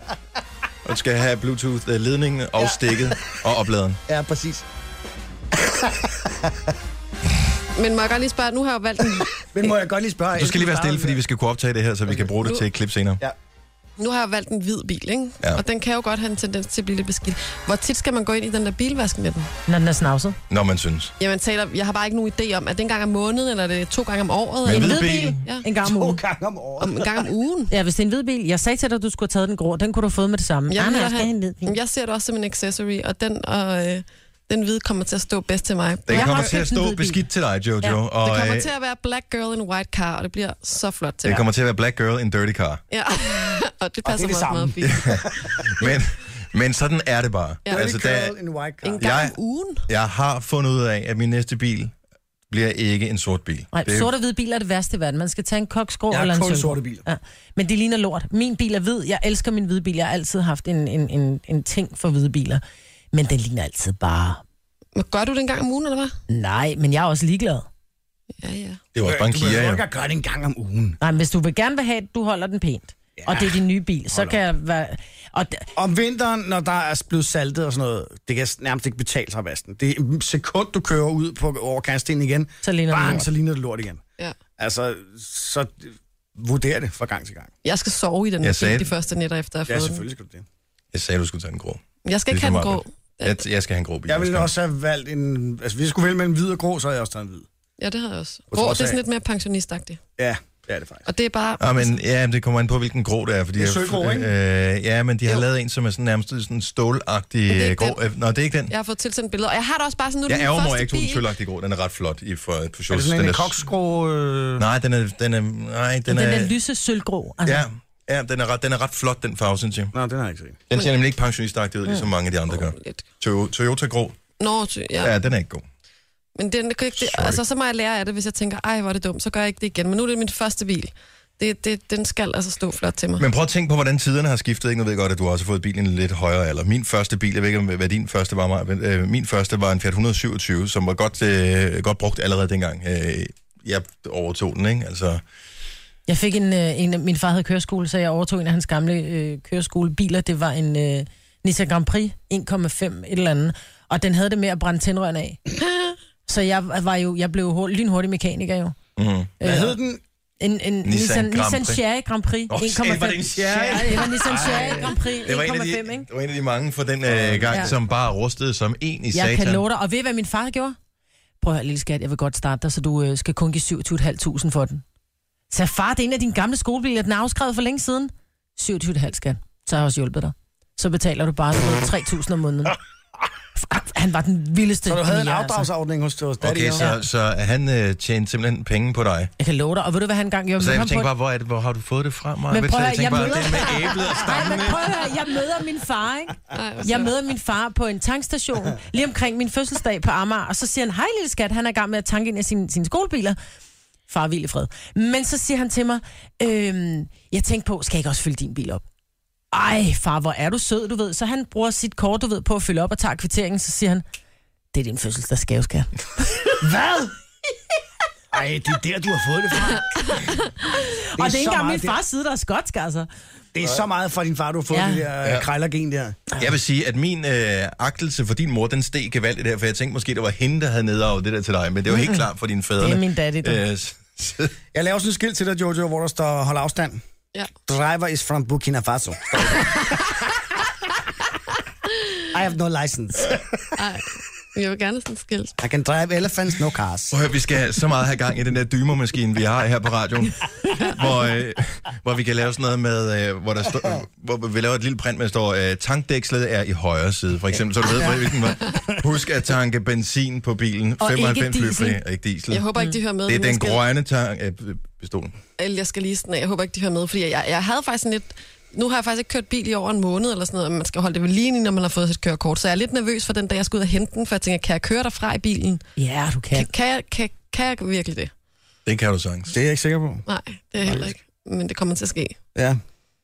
Og du skal have Bluetooth-ledningen og stikket og opladeren.
ja, præcis.
rigtigt. Men må jeg godt lige spørge, nu har jeg jo valgt en...
Men må jeg godt lige spørge?
Du skal lige være stille, fordi vi skal kunne optage det her, så vi kan bruge det til et klip senere.
Ja.
Nu har jeg valgt en hvid bil, ikke?
Ja.
Og den kan jo godt have en tendens til at blive lidt beskidt. Hvor tit skal man gå ind i den der bilvask med den?
Når den er snavset.
Når man synes.
Jamen, taler, jeg har bare ikke nogen idé om, at det er en gang om måneden, eller er det to gange om året?
Men
eller
hvid bil?
Ja.
En gang om
To
ugen.
gange om året.
Om, en gang om ugen.
Ja, hvis det er en hvid bil. Jeg sagde til dig, at du skulle have taget den grå. Den kunne du have fået med det samme.
Jeg,
Ej, nej,
vil
jeg skal have en hvid bil.
have, jeg ser det også som en accessory, og den, og, øh, den hvide kommer til at stå bedst til mig.
Den
Jeg
kommer
har
til at
købt en
stå
hvid bil.
beskidt til dig, Jojo.
Ja, det
og,
Det kommer
øh,
til at være black girl in white car, og det bliver så flot til
det
mig.
kommer til at være black girl in dirty car.
Ja, og det passer
det
mig også
samme.
meget fint.
Men, men sådan er det bare.
Ja.
Altså, der,
Girl in white car.
En gang
Jeg-
om ugen.
jeg har fundet ud af, at min næste bil bliver ikke en sort bil.
Nej,
det,
sort og hvid bil er det værste i verden. Man skal tage en koksgrå
Jeg
eller
har
en
kun
sølv.
sorte biler.
Ja. Men det ligner lort. Min bil er hvid. Jeg elsker min hvide bil. Jeg har altid haft en, en, en, en ting for hvide biler. Men den ligner altid bare...
Men Gør du det en gang om ugen, eller hvad?
Nej, men jeg er også ligeglad.
Ja, ja.
det var også bare en
Øh, Du behøver
Kia, ja.
ikke at gøre det en gang om ugen.
Nej, men hvis du vil gerne vil have, at du holder den pænt, ja. og det er din nye bil, så kan jeg være... Og d-
Om vinteren, når der er blevet saltet og sådan noget, det kan nærmest ikke betale sig at vaske den. Det er et sekund, du kører ud på overkastningen igen,
Så ligner det
bang,
lort.
så ligner det lort igen.
ja.
Altså, så vurder det fra gang til gang.
Jeg skal sove i den
Jeg
jeg
sagde
sagde... de
det.
første nætter, efter jeg har
Ja,
fået den.
selvfølgelig skal du det.
Jeg sagde, du skulle tage en grå.
Jeg skal ikke
Ligesom
have den grå.
Maj-Brit. Jeg, jeg skal have en grå bil.
Jeg ville
skal.
også have valgt en... Altså, hvis jeg skulle vælge mellem hvid og grå, så havde jeg også taget en hvid.
Ja, det har jeg også.
trods
Grå, det er
af-
sådan lidt mere pensionistagtigt.
Ja, det er det faktisk.
Og det er bare...
Ja, Ah, men, ja, men det kommer an på, hvilken grå det er. Fordi
Det er
jeg-
sølvgrå, ikke?
Øh, ja, men de har
Jo.
lavet en, som er sådan nærmest sådan en stålagtig
det er
øh,
ikke
grå. Øh, Nå, det er ikke den.
Jeg har fået tilsendt billeder, og jeg har det også bare sådan, nu er det
Jeg
min
ærger mig, at jeg
første
ikke tog den
bil.
sølvagtige grå. Den er ret flot i for, på shows.
Er det sådan
den
en koksgrå... Øh...
Nej, den er... Den er nej, den,
den
er...
der lyse sølvgrå. Altså.
ja, ja den, er ret, den er ret flot, den farve, synes jeg.
Nå, den har jeg ikke set.
Den ser nemlig ikke pensionistagtig ud, ligesom
Mm.
mange af de andre gør.
Lidt.
Toyo- Toyota grå,
Nå, ty- ja.
ja, den er ikke god.
Men den, det, kan ikke, det,
Sorry.
altså, så må jeg lære af det, hvis jeg tænker, ej, hvor er det dumt, så gør jeg ikke det igen. Men nu er det min første bil. Det, det, den skal altså stå flot til mig. Men,
Men prøv at tænke på, hvordan tiderne har skiftet. Ikke? Nu ved jeg godt, at du også har fået bilen lidt højere alder. Min første bil, jeg ved ikke, hvad din første var, Maja, men, øh, min første var en Fiat 127, som var godt, øh, godt brugt allerede dengang. Øh, jeg overtog den, ikke? Altså,
Jeg fik en, øh, en... Min far havde køreskole, så jeg overtog en af hans gamle øh, køreskolebiler. Det var en øh, Nissan Grand Prix 1,5 et eller andet. Og den havde det med at brænde tændrørene af. Så jeg var jo, jeg blev hurtig, lynhurtig mekaniker jo. Øh,
mm.
Hvad hed den?
En, en Nissan, Nissan,
Grand
Nissan
Prix.
Sherry Grand Prix.
Åh,
1,5.
var det en Sherry?
Ja, det var Nissan Sherry Grand Prix 1,5,
det, var en af de,
ikke?
det var en af de mange for den øh, gang, ja.
Ja.
som bare rustede som en i
Jeg
satan.
kan love dig. Og ved I, hvad min far gjorde? Prøv at høre, lille skat, jeg vil godt starte dig, så du øh, skal kun give 27.500 for den. Så far, det er en af dine gamle skolebiler, den er afskrevet for længe siden. 27.500, skat. Så har jeg også hjulpet dig. Så betaler du bare du ved, 3.000 om måneden. Fuck, Han var den vildeste.
Så du havde en
jæger, altså.
afdragsordning hos hos Daddy?
Okay, så, så han øh, tjente simpelthen penge på dig.
Jeg kan love dig. Og ved du, hvad han engang gjorde?
Så
Men
jeg
han
tænkte
på-
bare, hvor, er det, hvor har du fået det fra, Maja?
Men prøv
Så
at
jeg tænkte
høre,
bare,
jeg
det med æblet og
Ej,
stammen.
men prøv at høre, jeg møder min far, ikke?
ej, hvor
Jeg
sødt.
møder min far på en tankstation, lige omkring min fødselsdag på Amager, og så siger han, hej lille skat, han er i gang med at tanke ind af sine, sine skolebiler. Far hvil i fred. Men så siger han til mig, øhm, jeg tænkte på, skal jeg ikke også fylde din bil op? Ej, far, hvor er du sød, du ved. Så han bruger sit kort, du ved, på at fylde op og tager kvitteringen, så siger han, det er din fødselsdagsgave, skat.
Hvad? Ej, det er der, du har fået det fra.
Og det er
så
ikke engang min
meget
fars side, der er skotsk, altså.
Det, det er så meget fra din far, du har fået
Ja.
det der
Ja.
ja. krejlergen der.
Jeg vil sige, at min øh, agtelse for din mor, den steg gevaldigt der, for jeg tænkte måske, det var hende, der havde nedarvet det der til dig, men det var helt klart for dine fædre.
Mm. Det er min daddy, du.
Øh, s- s-
Jeg laver sådan en skilt til dig, Jojo, hvor der står, hold afstand.
Ja.
Driver is from Burkina Faso. I have no license.
Ej. Jeg vil gerne sådan skilt.
I can drive elephants, no cars.
Prøv at høre, vi skal så meget have gang i den der dymermaskine, vi har her på radioen, hvor, øh, hvor vi kan lave sådan noget med, øh, hvor, der står, hvor vi laver et lille print, med, der står, øh, tankdækslet er i højre side, for eksempel, så du ved, hvilken vej. Husk at tanke benzin på bilen,
Og ikke
95
diesel.
løbfri, og ikke diesel.
Jeg håber ikke, de hører med.
det er
men jeg
den
skal-
grønne tank... Øh, pistolen.
Eller jeg skal lige sådan af. Jeg håber ikke, de hører med, fordi jeg, jeg havde faktisk en lidt... Nu har jeg faktisk ikke kørt bil i over en måned eller sådan noget, men man skal holde det ved lige, når man har fået sit kørekort. Så jeg er lidt nervøs for den dag, jeg skal ud og hente den, for jeg tænker, kan jeg køre derfra i bilen?
Ja, du
Kan,
kan.
kan, jeg, kan, kan jeg virkelig det?
Det kan du sagtens.
Det er jeg ikke sikker på.
Nej, det er jeg heller ikke. Men det kommer til at ske.
Ja,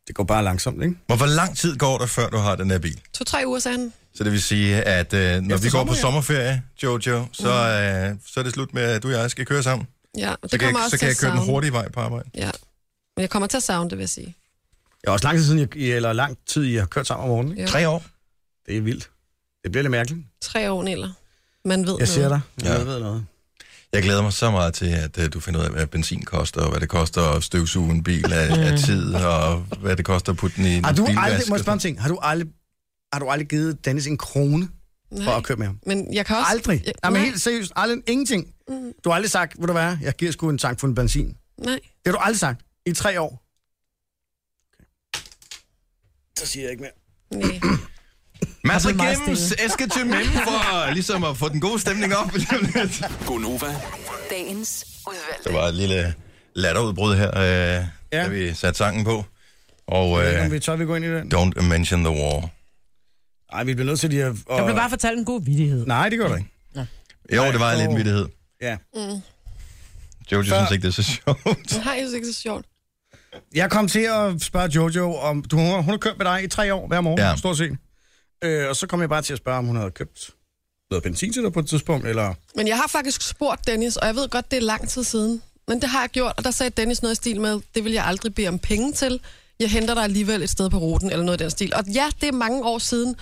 det går bare langsomt, ikke?
Hvor, hvor lang tid går der, før du har den der bil?
To-tre uger, sagde han.
Så det vil sige, at øh, når Efter vi går
sommer,
på
ja.
sommerferie, Jojo,
Mm.
så, øh, så er det slut med, at du og jeg skal køre sammen.
Ja, og det
Så kan,
kommer
jeg,
også
så
til
kan jeg
at
køre den
savne.
hurtige vej på arbejde.
Ja. Men jeg kommer til at savne det, vil jeg sige.
Det er også lang tid siden, jeg, eller lang tid, I har kørt sammen om morgenen. Ikke?
Ja.
Tre år.
Det er vildt. Det bliver lidt mærkeligt.
Tre år eller. Man ved
Jeg
noget.
ser dig.
Ja.
Jeg ved noget.
Jeg glæder mig så meget til, at øh, du finder ud af, hvad benzin koster, og hvad det koster at støvsuge en bil af, af tid, og hvad det koster at putte den i en
Har Mm. du
bilvask
aldrig, må
og
jeg spørge om en ting, har du aldrig, har du aldrig givet Dennis en krone for
Nej.
at købe med ham?
Men jeg kan også...
Aldrig.
Jeg,
Nej, men
nej,
helt seriøst, aldrig ingenting. Du har aldrig sagt, ved du hvad, jeg giver sgu en tank for en benzin.
nej.
Det har du aldrig sagt i tre år. Så siger jeg ikke mere.
Nej.
Masser
Der blev meget
gennem æske til mem for ligesom at få den gode stemning op. det
Gonova,
Dagens udvalgte.
var et lille latterudbrud her, øh, ja. da vi satte sangen på. Og
Jeg ved ikke, om
øh,
vi tør, vi går ind i den.
Don't Mention the War.
Nej, vi bliver nødt til lige at... Og...
Jeg blev bare fortalt en god vidighed.
Nej, det gør du ikke.
Jo, det var
Nej,
lidt en
åh.
vittighed.
Ja.
Jojo synes ikke, det er så sjovt.
Nej, jeg synes ikke, det er så sjovt.
Jeg kom til at spørge Jojo, om du, hun, har- hun har købt med dig i tre år hver morgen,
Ja.
ja. stort set. Øh, og så kom jeg bare til at spørge, om hun havde købt noget benzin til dig på et tidspunkt, eller...
Men jeg har faktisk spurgt Dennis, og jeg ved godt, det er lang tid siden. Men det har jeg gjort, og der sagde Dennis noget i stil med, det vil jeg aldrig bede om penge til. Jeg henter dig alligevel et sted på ruten, eller noget i den stil. Og ja, det er mange år siden,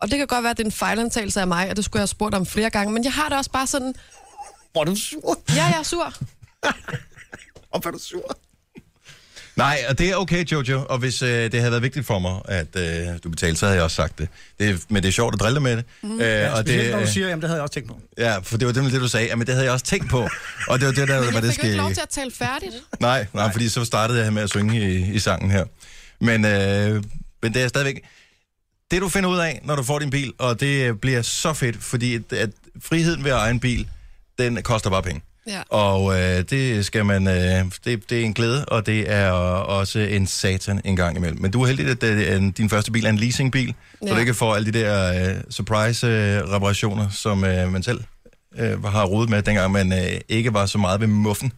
og det kan godt være, at det er en fejlantagelse af mig, og det skulle jeg have spurgt om flere gange. Men jeg har det også bare sådan,
Hvor er du sur?
ja, jeg er sur.
Hvor er du sur?
Nej, og det er okay, Jojo. Og hvis øh, det havde været vigtigt for mig, at øh, du betalte, så havde jeg også sagt det. det er- men det er sjovt at drille med det. Mm. Øh, ja, og
Specielt,
det
når du
øh,
siger, jamen det havde jeg også tænkt på.
ja, for det var nemlig det, du sagde. Jamen, det havde jeg også tænkt på. Og det var det, der var det
Jeg fik jo ikke
skægge.
lov til at tale færdigt.
Nej, nej, fordi så startede jeg med at synge i, i sangen her. Men, øh, men det er stadigvæk... Det, du finder ud af, når du får din bil, og det øh, bliver så fedt, fordi at, at friheden ved at eje en bil, den koster bare penge.
Ja.
Og øh, det skal man... Øh, det, det er en glæde, og det er også en satan en gang imellem. Men du er heldig, at det er en, din første bil er en leasingbil, ja. så
Ja.
du ikke får alle de der øh, surprise-reparationer, som øh, man selv øh, har rodet med, dengang man øh, ikke var så meget ved muffen.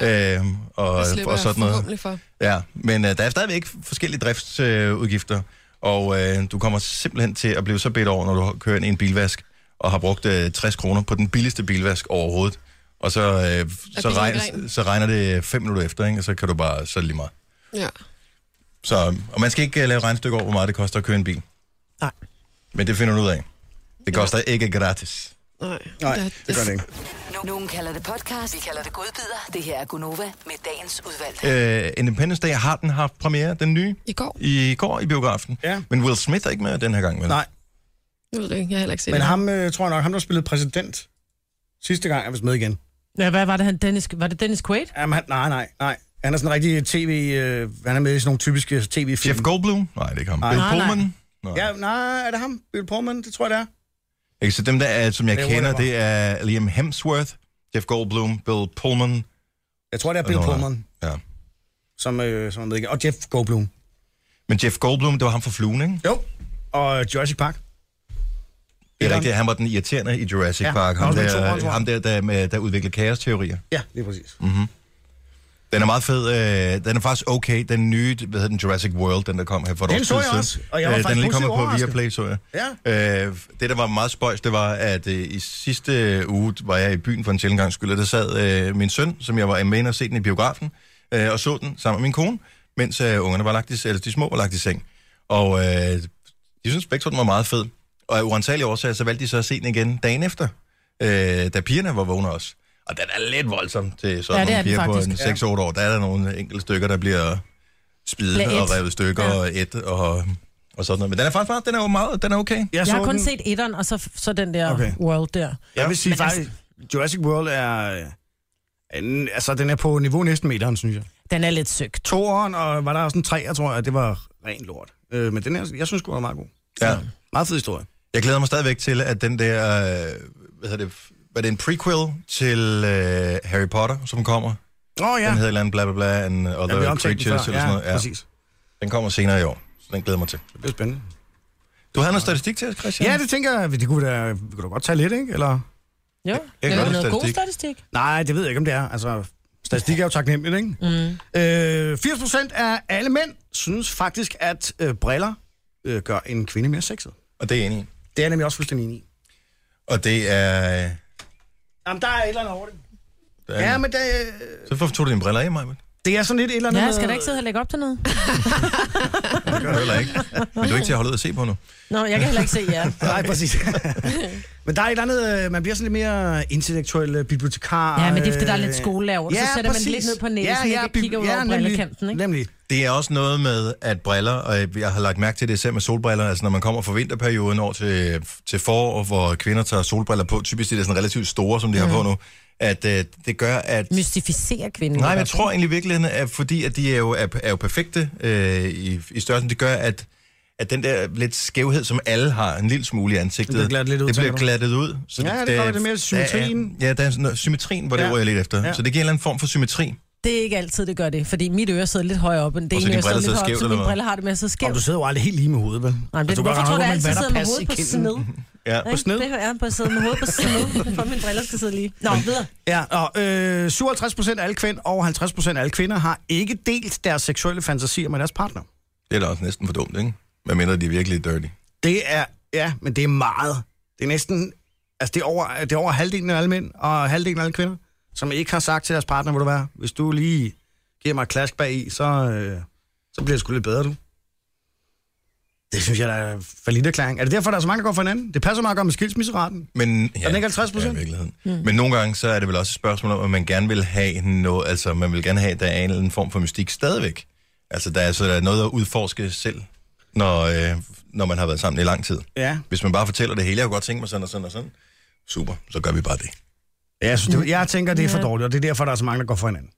Ja. Øh, og,
Det slipper
og
jeg
sådan noget.
forhåbentlig for.
Ja, men øh, der er stadigvæk forskellige driftsudgifter, øh, udgifter, og øh, du kommer simpelthen til at blive så bedt over, når du kører ind i en bilvask, og har brugt øh, 60 kroner på den billigste bilvask overhovedet. Og så, øh, så,
bilen
regn,
ren?
så regner det 5 minutter efter, ikke? og så kan du bare så er det lige meget.
Ja.
Så, øh, og man skal ikke øh, lave regnstykke over, hvor meget det koster at køre en bil.
Nej.
Men det finder du ud af. Det koster ikke gratis.
Nej,
Nej, det gør det ikke.
Nu- Nogen kalder det podcast, vi kalder det godbider. Det her er Gunova med dagens udvalgte.
Øh, Independence Day har den haft premiere, den nye,
I går?
i går i biografen.
Ja.
Men Will Smith er ikke med den her gang, vel?
Nej,
Jeg ved det ikke, jeg har heller ikke set
men
det.
ham, øh, tror jeg nok, ham der spillede præsident sidste gang, er vist med igen.
Ja, hvad var det, han Dennis, var det Dennis Quaid?
Jamen, han, nej, nej, nej. Han er sådan en rigtig tv... Øh, han er med i sådan nogle typiske tv-film.
Jeff Goldblum? Nej, det er ikke ham. Bill
Nej, nej.
Pullman? Nej.
Ja, nej, er det ham? Bill Pullman, det tror jeg, det er.
Ikke, så dem, der er, som jeg
Det er
kender,
whatever.
det er Liam Hemsworth, Jeff Goldblum, Bill Pullman.
Jeg tror, det er Bill
Nå, nej.
Pullman,
Ja.
som, øh, som er med igen. Og Jeff Goldblum.
Men Jeff Goldblum, det var ham for fluen, ikke?
Jo. Og Jurassic Park.
Det er rigtigt, han var den irriterende i Jurassic
Ja,
Park.
han var
Ham
også med i toeren,
der,
tror jeg.
ham der, der, med, der udviklede kaosteorier.
Ja, lige præcis.
Den er meget fed. Øh, den er faktisk okay. Den nye, hvad hedder den, Jurassic World, den der kom her for et
Den
års
så
tid
jeg
siden.
også, og jeg var
Øh, den
faktisk
er lige kommet
positivt
på
overrasket.
Viaplay, så jeg. Ja. Øh, det, der var meget spøjs, det var, at øh, i sidste uge var jeg i byen for en sjældent gang skyld, og der sad øh, min søn, som jeg var med inde og se den i biografen, øh, og så den sammen med min kone, mens øh, ungerne var lagt i, eller de små var lagt i seng. Og øh, de synes begge to, den var meget fed. Og af uansagelige årsager, så valgte de så at se den igen dagen efter, øh, da pigerne var vågne også. Og den er lidt voldsom til sådan
Ja,
ja,
det er
nogle
den
piger på
faktisk.
en 6-8 år. Der er der nogle enkelte stykker, der bliver spidet
Bliver
og
ædt.
revet i stykker
Ja.
ja. og et og, og sådan noget. Men den er faktisk meget, den er jo meget, den er okay.
Jeg,
Jeg har
så
kun
den.
set etteren, og så, så den der
Okay.
okay. World der.
Jeg vil sige
Men altså-
faktisk, Jurassic World er... øh, En, altså, den er på niveau næsten med etteren, synes jeg.
Den er lidt søgt.
Toeren, og var der også en treer, tror jeg, det var ren lort. Øh, men den her, jeg synes sgu, den er meget god.
Ja.
Meget fed historie.
Jeg glæder mig stadigvæk til, at den der, øh, hvad hedder det, var det en prequel til øh, Harry Potter, som kommer?
Åh, oh, ja.
Den hedder et eller andet bla bla bla, and
Ja, vi
other
omtalte
creatures
den før.
eller sådan noget.
Ja, præcis.
Den kommer senere i år, så den glæder jeg mig til.
Det bliver spændende.
Du havde noget statistik til os, Christian?
Ja, det tænker jeg, det kunne da, vi kunne da godt tage lidt, ikke? Eller?
kan
Jo. det
godt
er
lide
noget god
statistik.
statistik.
Nej, det ved jeg ikke, om det er. Altså, statistik er jo taknemmeligt, ikke? Mm. Øh, 80% af alle mænd synes faktisk, at øh, briller øh, gør en kvinde mere sexet.
Og det er jeg enig i.
Det er jeg nemlig også fuldstændig enig i.
Og det er... øh,
Jamen, der er et eller andet over det.
Der er
Ja, men det... Øh,
Så hvorfor tog du dine briller af, Maja?
Det er sådan lidt et eller andet...
Ja, jeg skal da
med-
ikke sidde og lægge op til noget.
Det gør du heller ikke. Men du er ikke til at holde ud og se på nu.
Nå, jeg kan heller ikke se jer.
Nej, præcis. Men der er et eller andet, øh, man bliver sådan lidt mere intellektuel øh, bibliotekar.
Ja, men det er, fordi der er
øh,
lidt skolelærer, så sætter man lidt ned på næsen, ikke?
bib-
Kigger ud over
nemlig,
brillekanten, ikke?
Nemlig.
Det er også noget med, at briller, og jeg har lagt mærke til det selv med solbriller, altså når man kommer fra vinterperioden over til, til forår, hvor kvinder tager solbriller på, typisk de er sådan relativt store, som de
Mm.
har på nu, at øh, det gør, at...
Mystificere kvinden.
Nej, men jeg tror egentlig i virkeligheden, at fordi at de er jo, er, er jo perfekte øh, i, i størrelsen, det gør, at, at den der lidt skævhed, som alle har en lille smule i ansigtet,
Det bliver glattet lidt ud,
det bliver
tænker du?
glattet ud. Så
Ja, det kommer lidt mere symmetrien.
Der er, ja, der er sådan noget, symmetrien, var det
Ja.
ja. ord, jeg lidt efter.
Ja.
Ja. Så det giver en eller anden form for symmetri.
Det er ikke altid, det gør det, fordi mit øre sidder lidt højere op, end det
Og så dine
ene øre
briller
sidder
sidder
lidt højere op,
skævt,
så
eller
mine
hvad?
briller har det med at sidde
Om
skævt.
du sidder jo aldrig helt lige med hovedet, vel?
Nej, men det,
Altså, du kan
hvorfor tror
godt
du,
ramme,
jeg altid
hvor man
sidder med
vander
hovedet på
pas i kinden.
sned?
Ja.
Ikke?
sned?
Det hører jeg på at sidde med hovedet på sned, for mine briller skal sidde lige. Nå, videre.
Ja, og øh, 57 procent af alle kvinder og 50 procent af alle kvinder har ikke delt deres seksuelle fantasier med deres partner.
Det er da også næsten for dumt, ikke? Hvad mindre de er virkelig dirty.
Det er, ja, men det er meget. Det er næsten, altså det er over, det er over halvdelen af alle mænd og halvdelen af alle kvinder, som ikke har sagt til deres partner, vil du være, hvis du lige giver mig et klask bag i, så, øh, så bliver det sgu lidt bedre, du. Det synes jeg, der er for erklæring. Er det derfor, der er så mange, der går for hinanden? Det passer meget godt med skilsmisseraten.
Men, ja,
den ikke 50%?
Ja, i virkeligheden. Mm. Men nogle gange, så er det vel også et spørgsmål om, at man gerne vil have noget, altså man vil gerne have, at der er en eller anden form for mystik stadigvæk. Altså der er, så der er noget at udforske selv, når, øh, når man har været sammen i lang tid.
Ja.
Hvis man bare fortæller det hele, jeg kunne godt tænke mig sådan og sådan og sådan. Super, så gør vi bare det.
Ja, jeg, synes, det, jeg tænker, det er for dårligt, og det er derfor, der er så mange, der går for hinanden.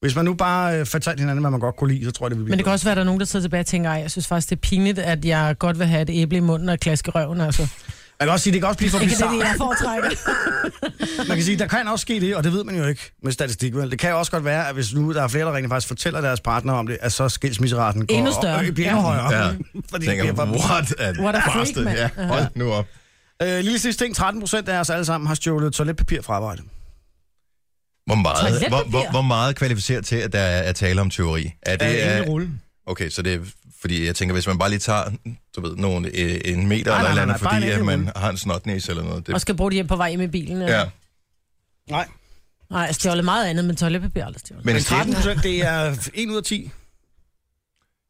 Hvis man nu bare øh, fortalte hinanden, hvad man godt kunne lide, så tror jeg, det vil blive
Men det kan
bedre.
også være, at der er nogen, der sidder tilbage og tænker, ej, jeg synes faktisk, det er pinligt, at jeg godt vil have et æble i munden og et klask i røven, altså. Det
Man kan også sige, det kan også blive for
er det,
bizarrt.
jeg foretrækker.
Man kan sige, der kan også ske det, og det ved man jo ikke med statistik. Vel? Det kan jo også godt være, at hvis nu der er flere, der rent faktisk fortæller deres partner om det, at så skilsmisseraten går
Endnu
op-
større.
Og, bliver endnu højere.
Ja.
Fordi det
Tænker,
bliver bare...
what a,
What a freak,
bastard.
mand.
ja, hold nu op.
Øh, lille sidste ting, 13 procent af os alle sammen har stjålet toiletpapir fra arbejde.
Hvor meget, hvor,
Toiletpapir.
hvor, hvor meget kvalificeret til, at der er, er tale om teori? Er det,
Øh,
er,
en rulle.
Okay, så det er, fordi jeg tænker, hvis man bare lige tager, du ved, nogle, øh, en meter nej,
Nej, nej,
eller nej,
nej, nej,
andet,
bare en
fordi at
enkelt
man
uge.
har en snotnæs eller noget. Det,
Og skal bruge det hjem på vej hjem i bilen.
ja.
Ja.
Nej,
Nej, altså, jeg stjåler meget andet, men toiletpapir er aldrig stjålet.
Men
men 13
stjæle,
procent, det er 1 ud af 10.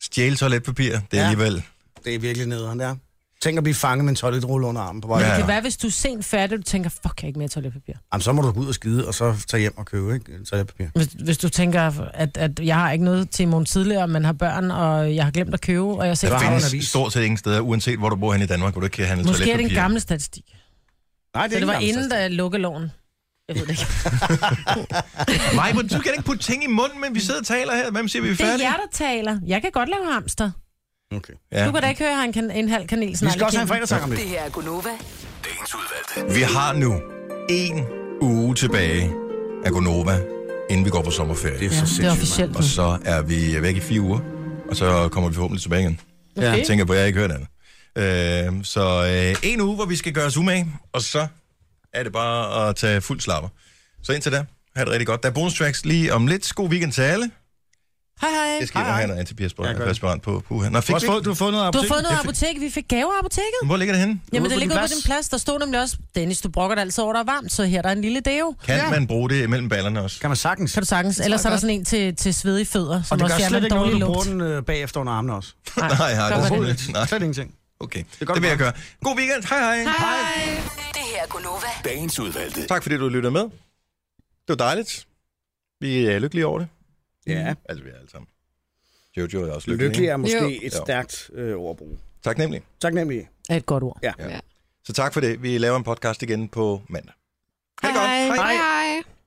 stjæle toiletpapir, det er
Ja.
ja. alligevel...
Det er virkelig nederen, der. Tænk at blive fanget med en toiletrulle under armen på vej.
Ja.
Ja.
Det kan være, hvis du er sent færdig, du tænker, fuck, jeg har ikke mere toiletpapir.
Jamen, så må du gå ud og skide, og så tage hjem og købe ikke? toiletpapir.
Hvis, hvis du tænker, at, at jeg har ikke noget til i morgen tidligere, men har børn, og jeg har glemt at købe, og jeg ser
Der
har
findes
en avis.
stort set ingen steder, uanset hvor du bor hen i Danmark, hvor du ikke kan handle
Måske er det
toiletpapir.
en gammel statistik.
Nej, det
Så
er
det var
ikke
inden, der lukkede loven. Jeg ved det ikke.
Nej, men du kan ikke putte ting i munden, men vi sidder og taler her. Hvem siger, vi er
Det er
færdige?
jer, der taler. Jeg kan godt lave hamster.
Okay.
Ja.
Du kan da ikke høre, at han kan en halv kanel
Vi skal også have en fredagssang om det.
Det her er Gunova.
Vi har nu en uge tilbage af Gonova, inden vi går på sommerferie.
Ja, det er officielt.
Og så er vi væk i fire uger, og så kommer vi forhåbentlig tilbage igen.
Okay.
Jeg tænker på, at jeg ikke hørt andet. Øh, så øh, en uge, hvor vi skal gøre os umage, og så er det bare at tage fuld slapper. Så indtil da, have det rigtig godt. Der er bonus tracks lige om lidt. God weekend til alle.
Hej, hej.
Jeg skal hej, hej. have noget
Ja, gør det.
antiperspirant på. Puha. Nå,
Du
fik
har,
vi...
også fået, du har fået noget af
Du har fået
apoteket.
noget af apoteket. Vi fik gaver af apoteket.
Hvor ligger det henne?
Jamen,
ude
det
på
ligger
din
ude på din
plads.
plads. Der stod nemlig også, Dennis, du brokker dig altid over, der er varmt, så her der er en lille deo.
Kan ja. man bruge det mellem ballerne også?
Kan man sagtens.
Kan du sagtens. Ellers er der sådan en til, til svedige fødder,
Og
som
det
også
gør
fjerner
slet
en
ikke noget,
dårlig
du bruger
lugt.
den øh, bagefter under armen også.
Nej, nej, nej, det er
Overhovedet
ikke.
ikke.
Nej,
Slet ingenting.
okay. Det,
godt
det vil jeg gøre. God weekend. Hej, hej. hej.
Det her er Gunova.
Dagens udvalgte.
Tak fordi du lyttede med. Det var dejligt. Vi er lykkelige over det.
Ja.
Altså, vi er alle sammen. Jojo er også lykkelig.
Lykkelig er måske
Jo.
et
Jo.
stærkt øh, ordbrug.
Tak nemlig.
Tak nemlig.
Er et godt ord.
Så tak for det. Vi laver en podcast igen på mandag. Ha' det godt.
Hej. Hej.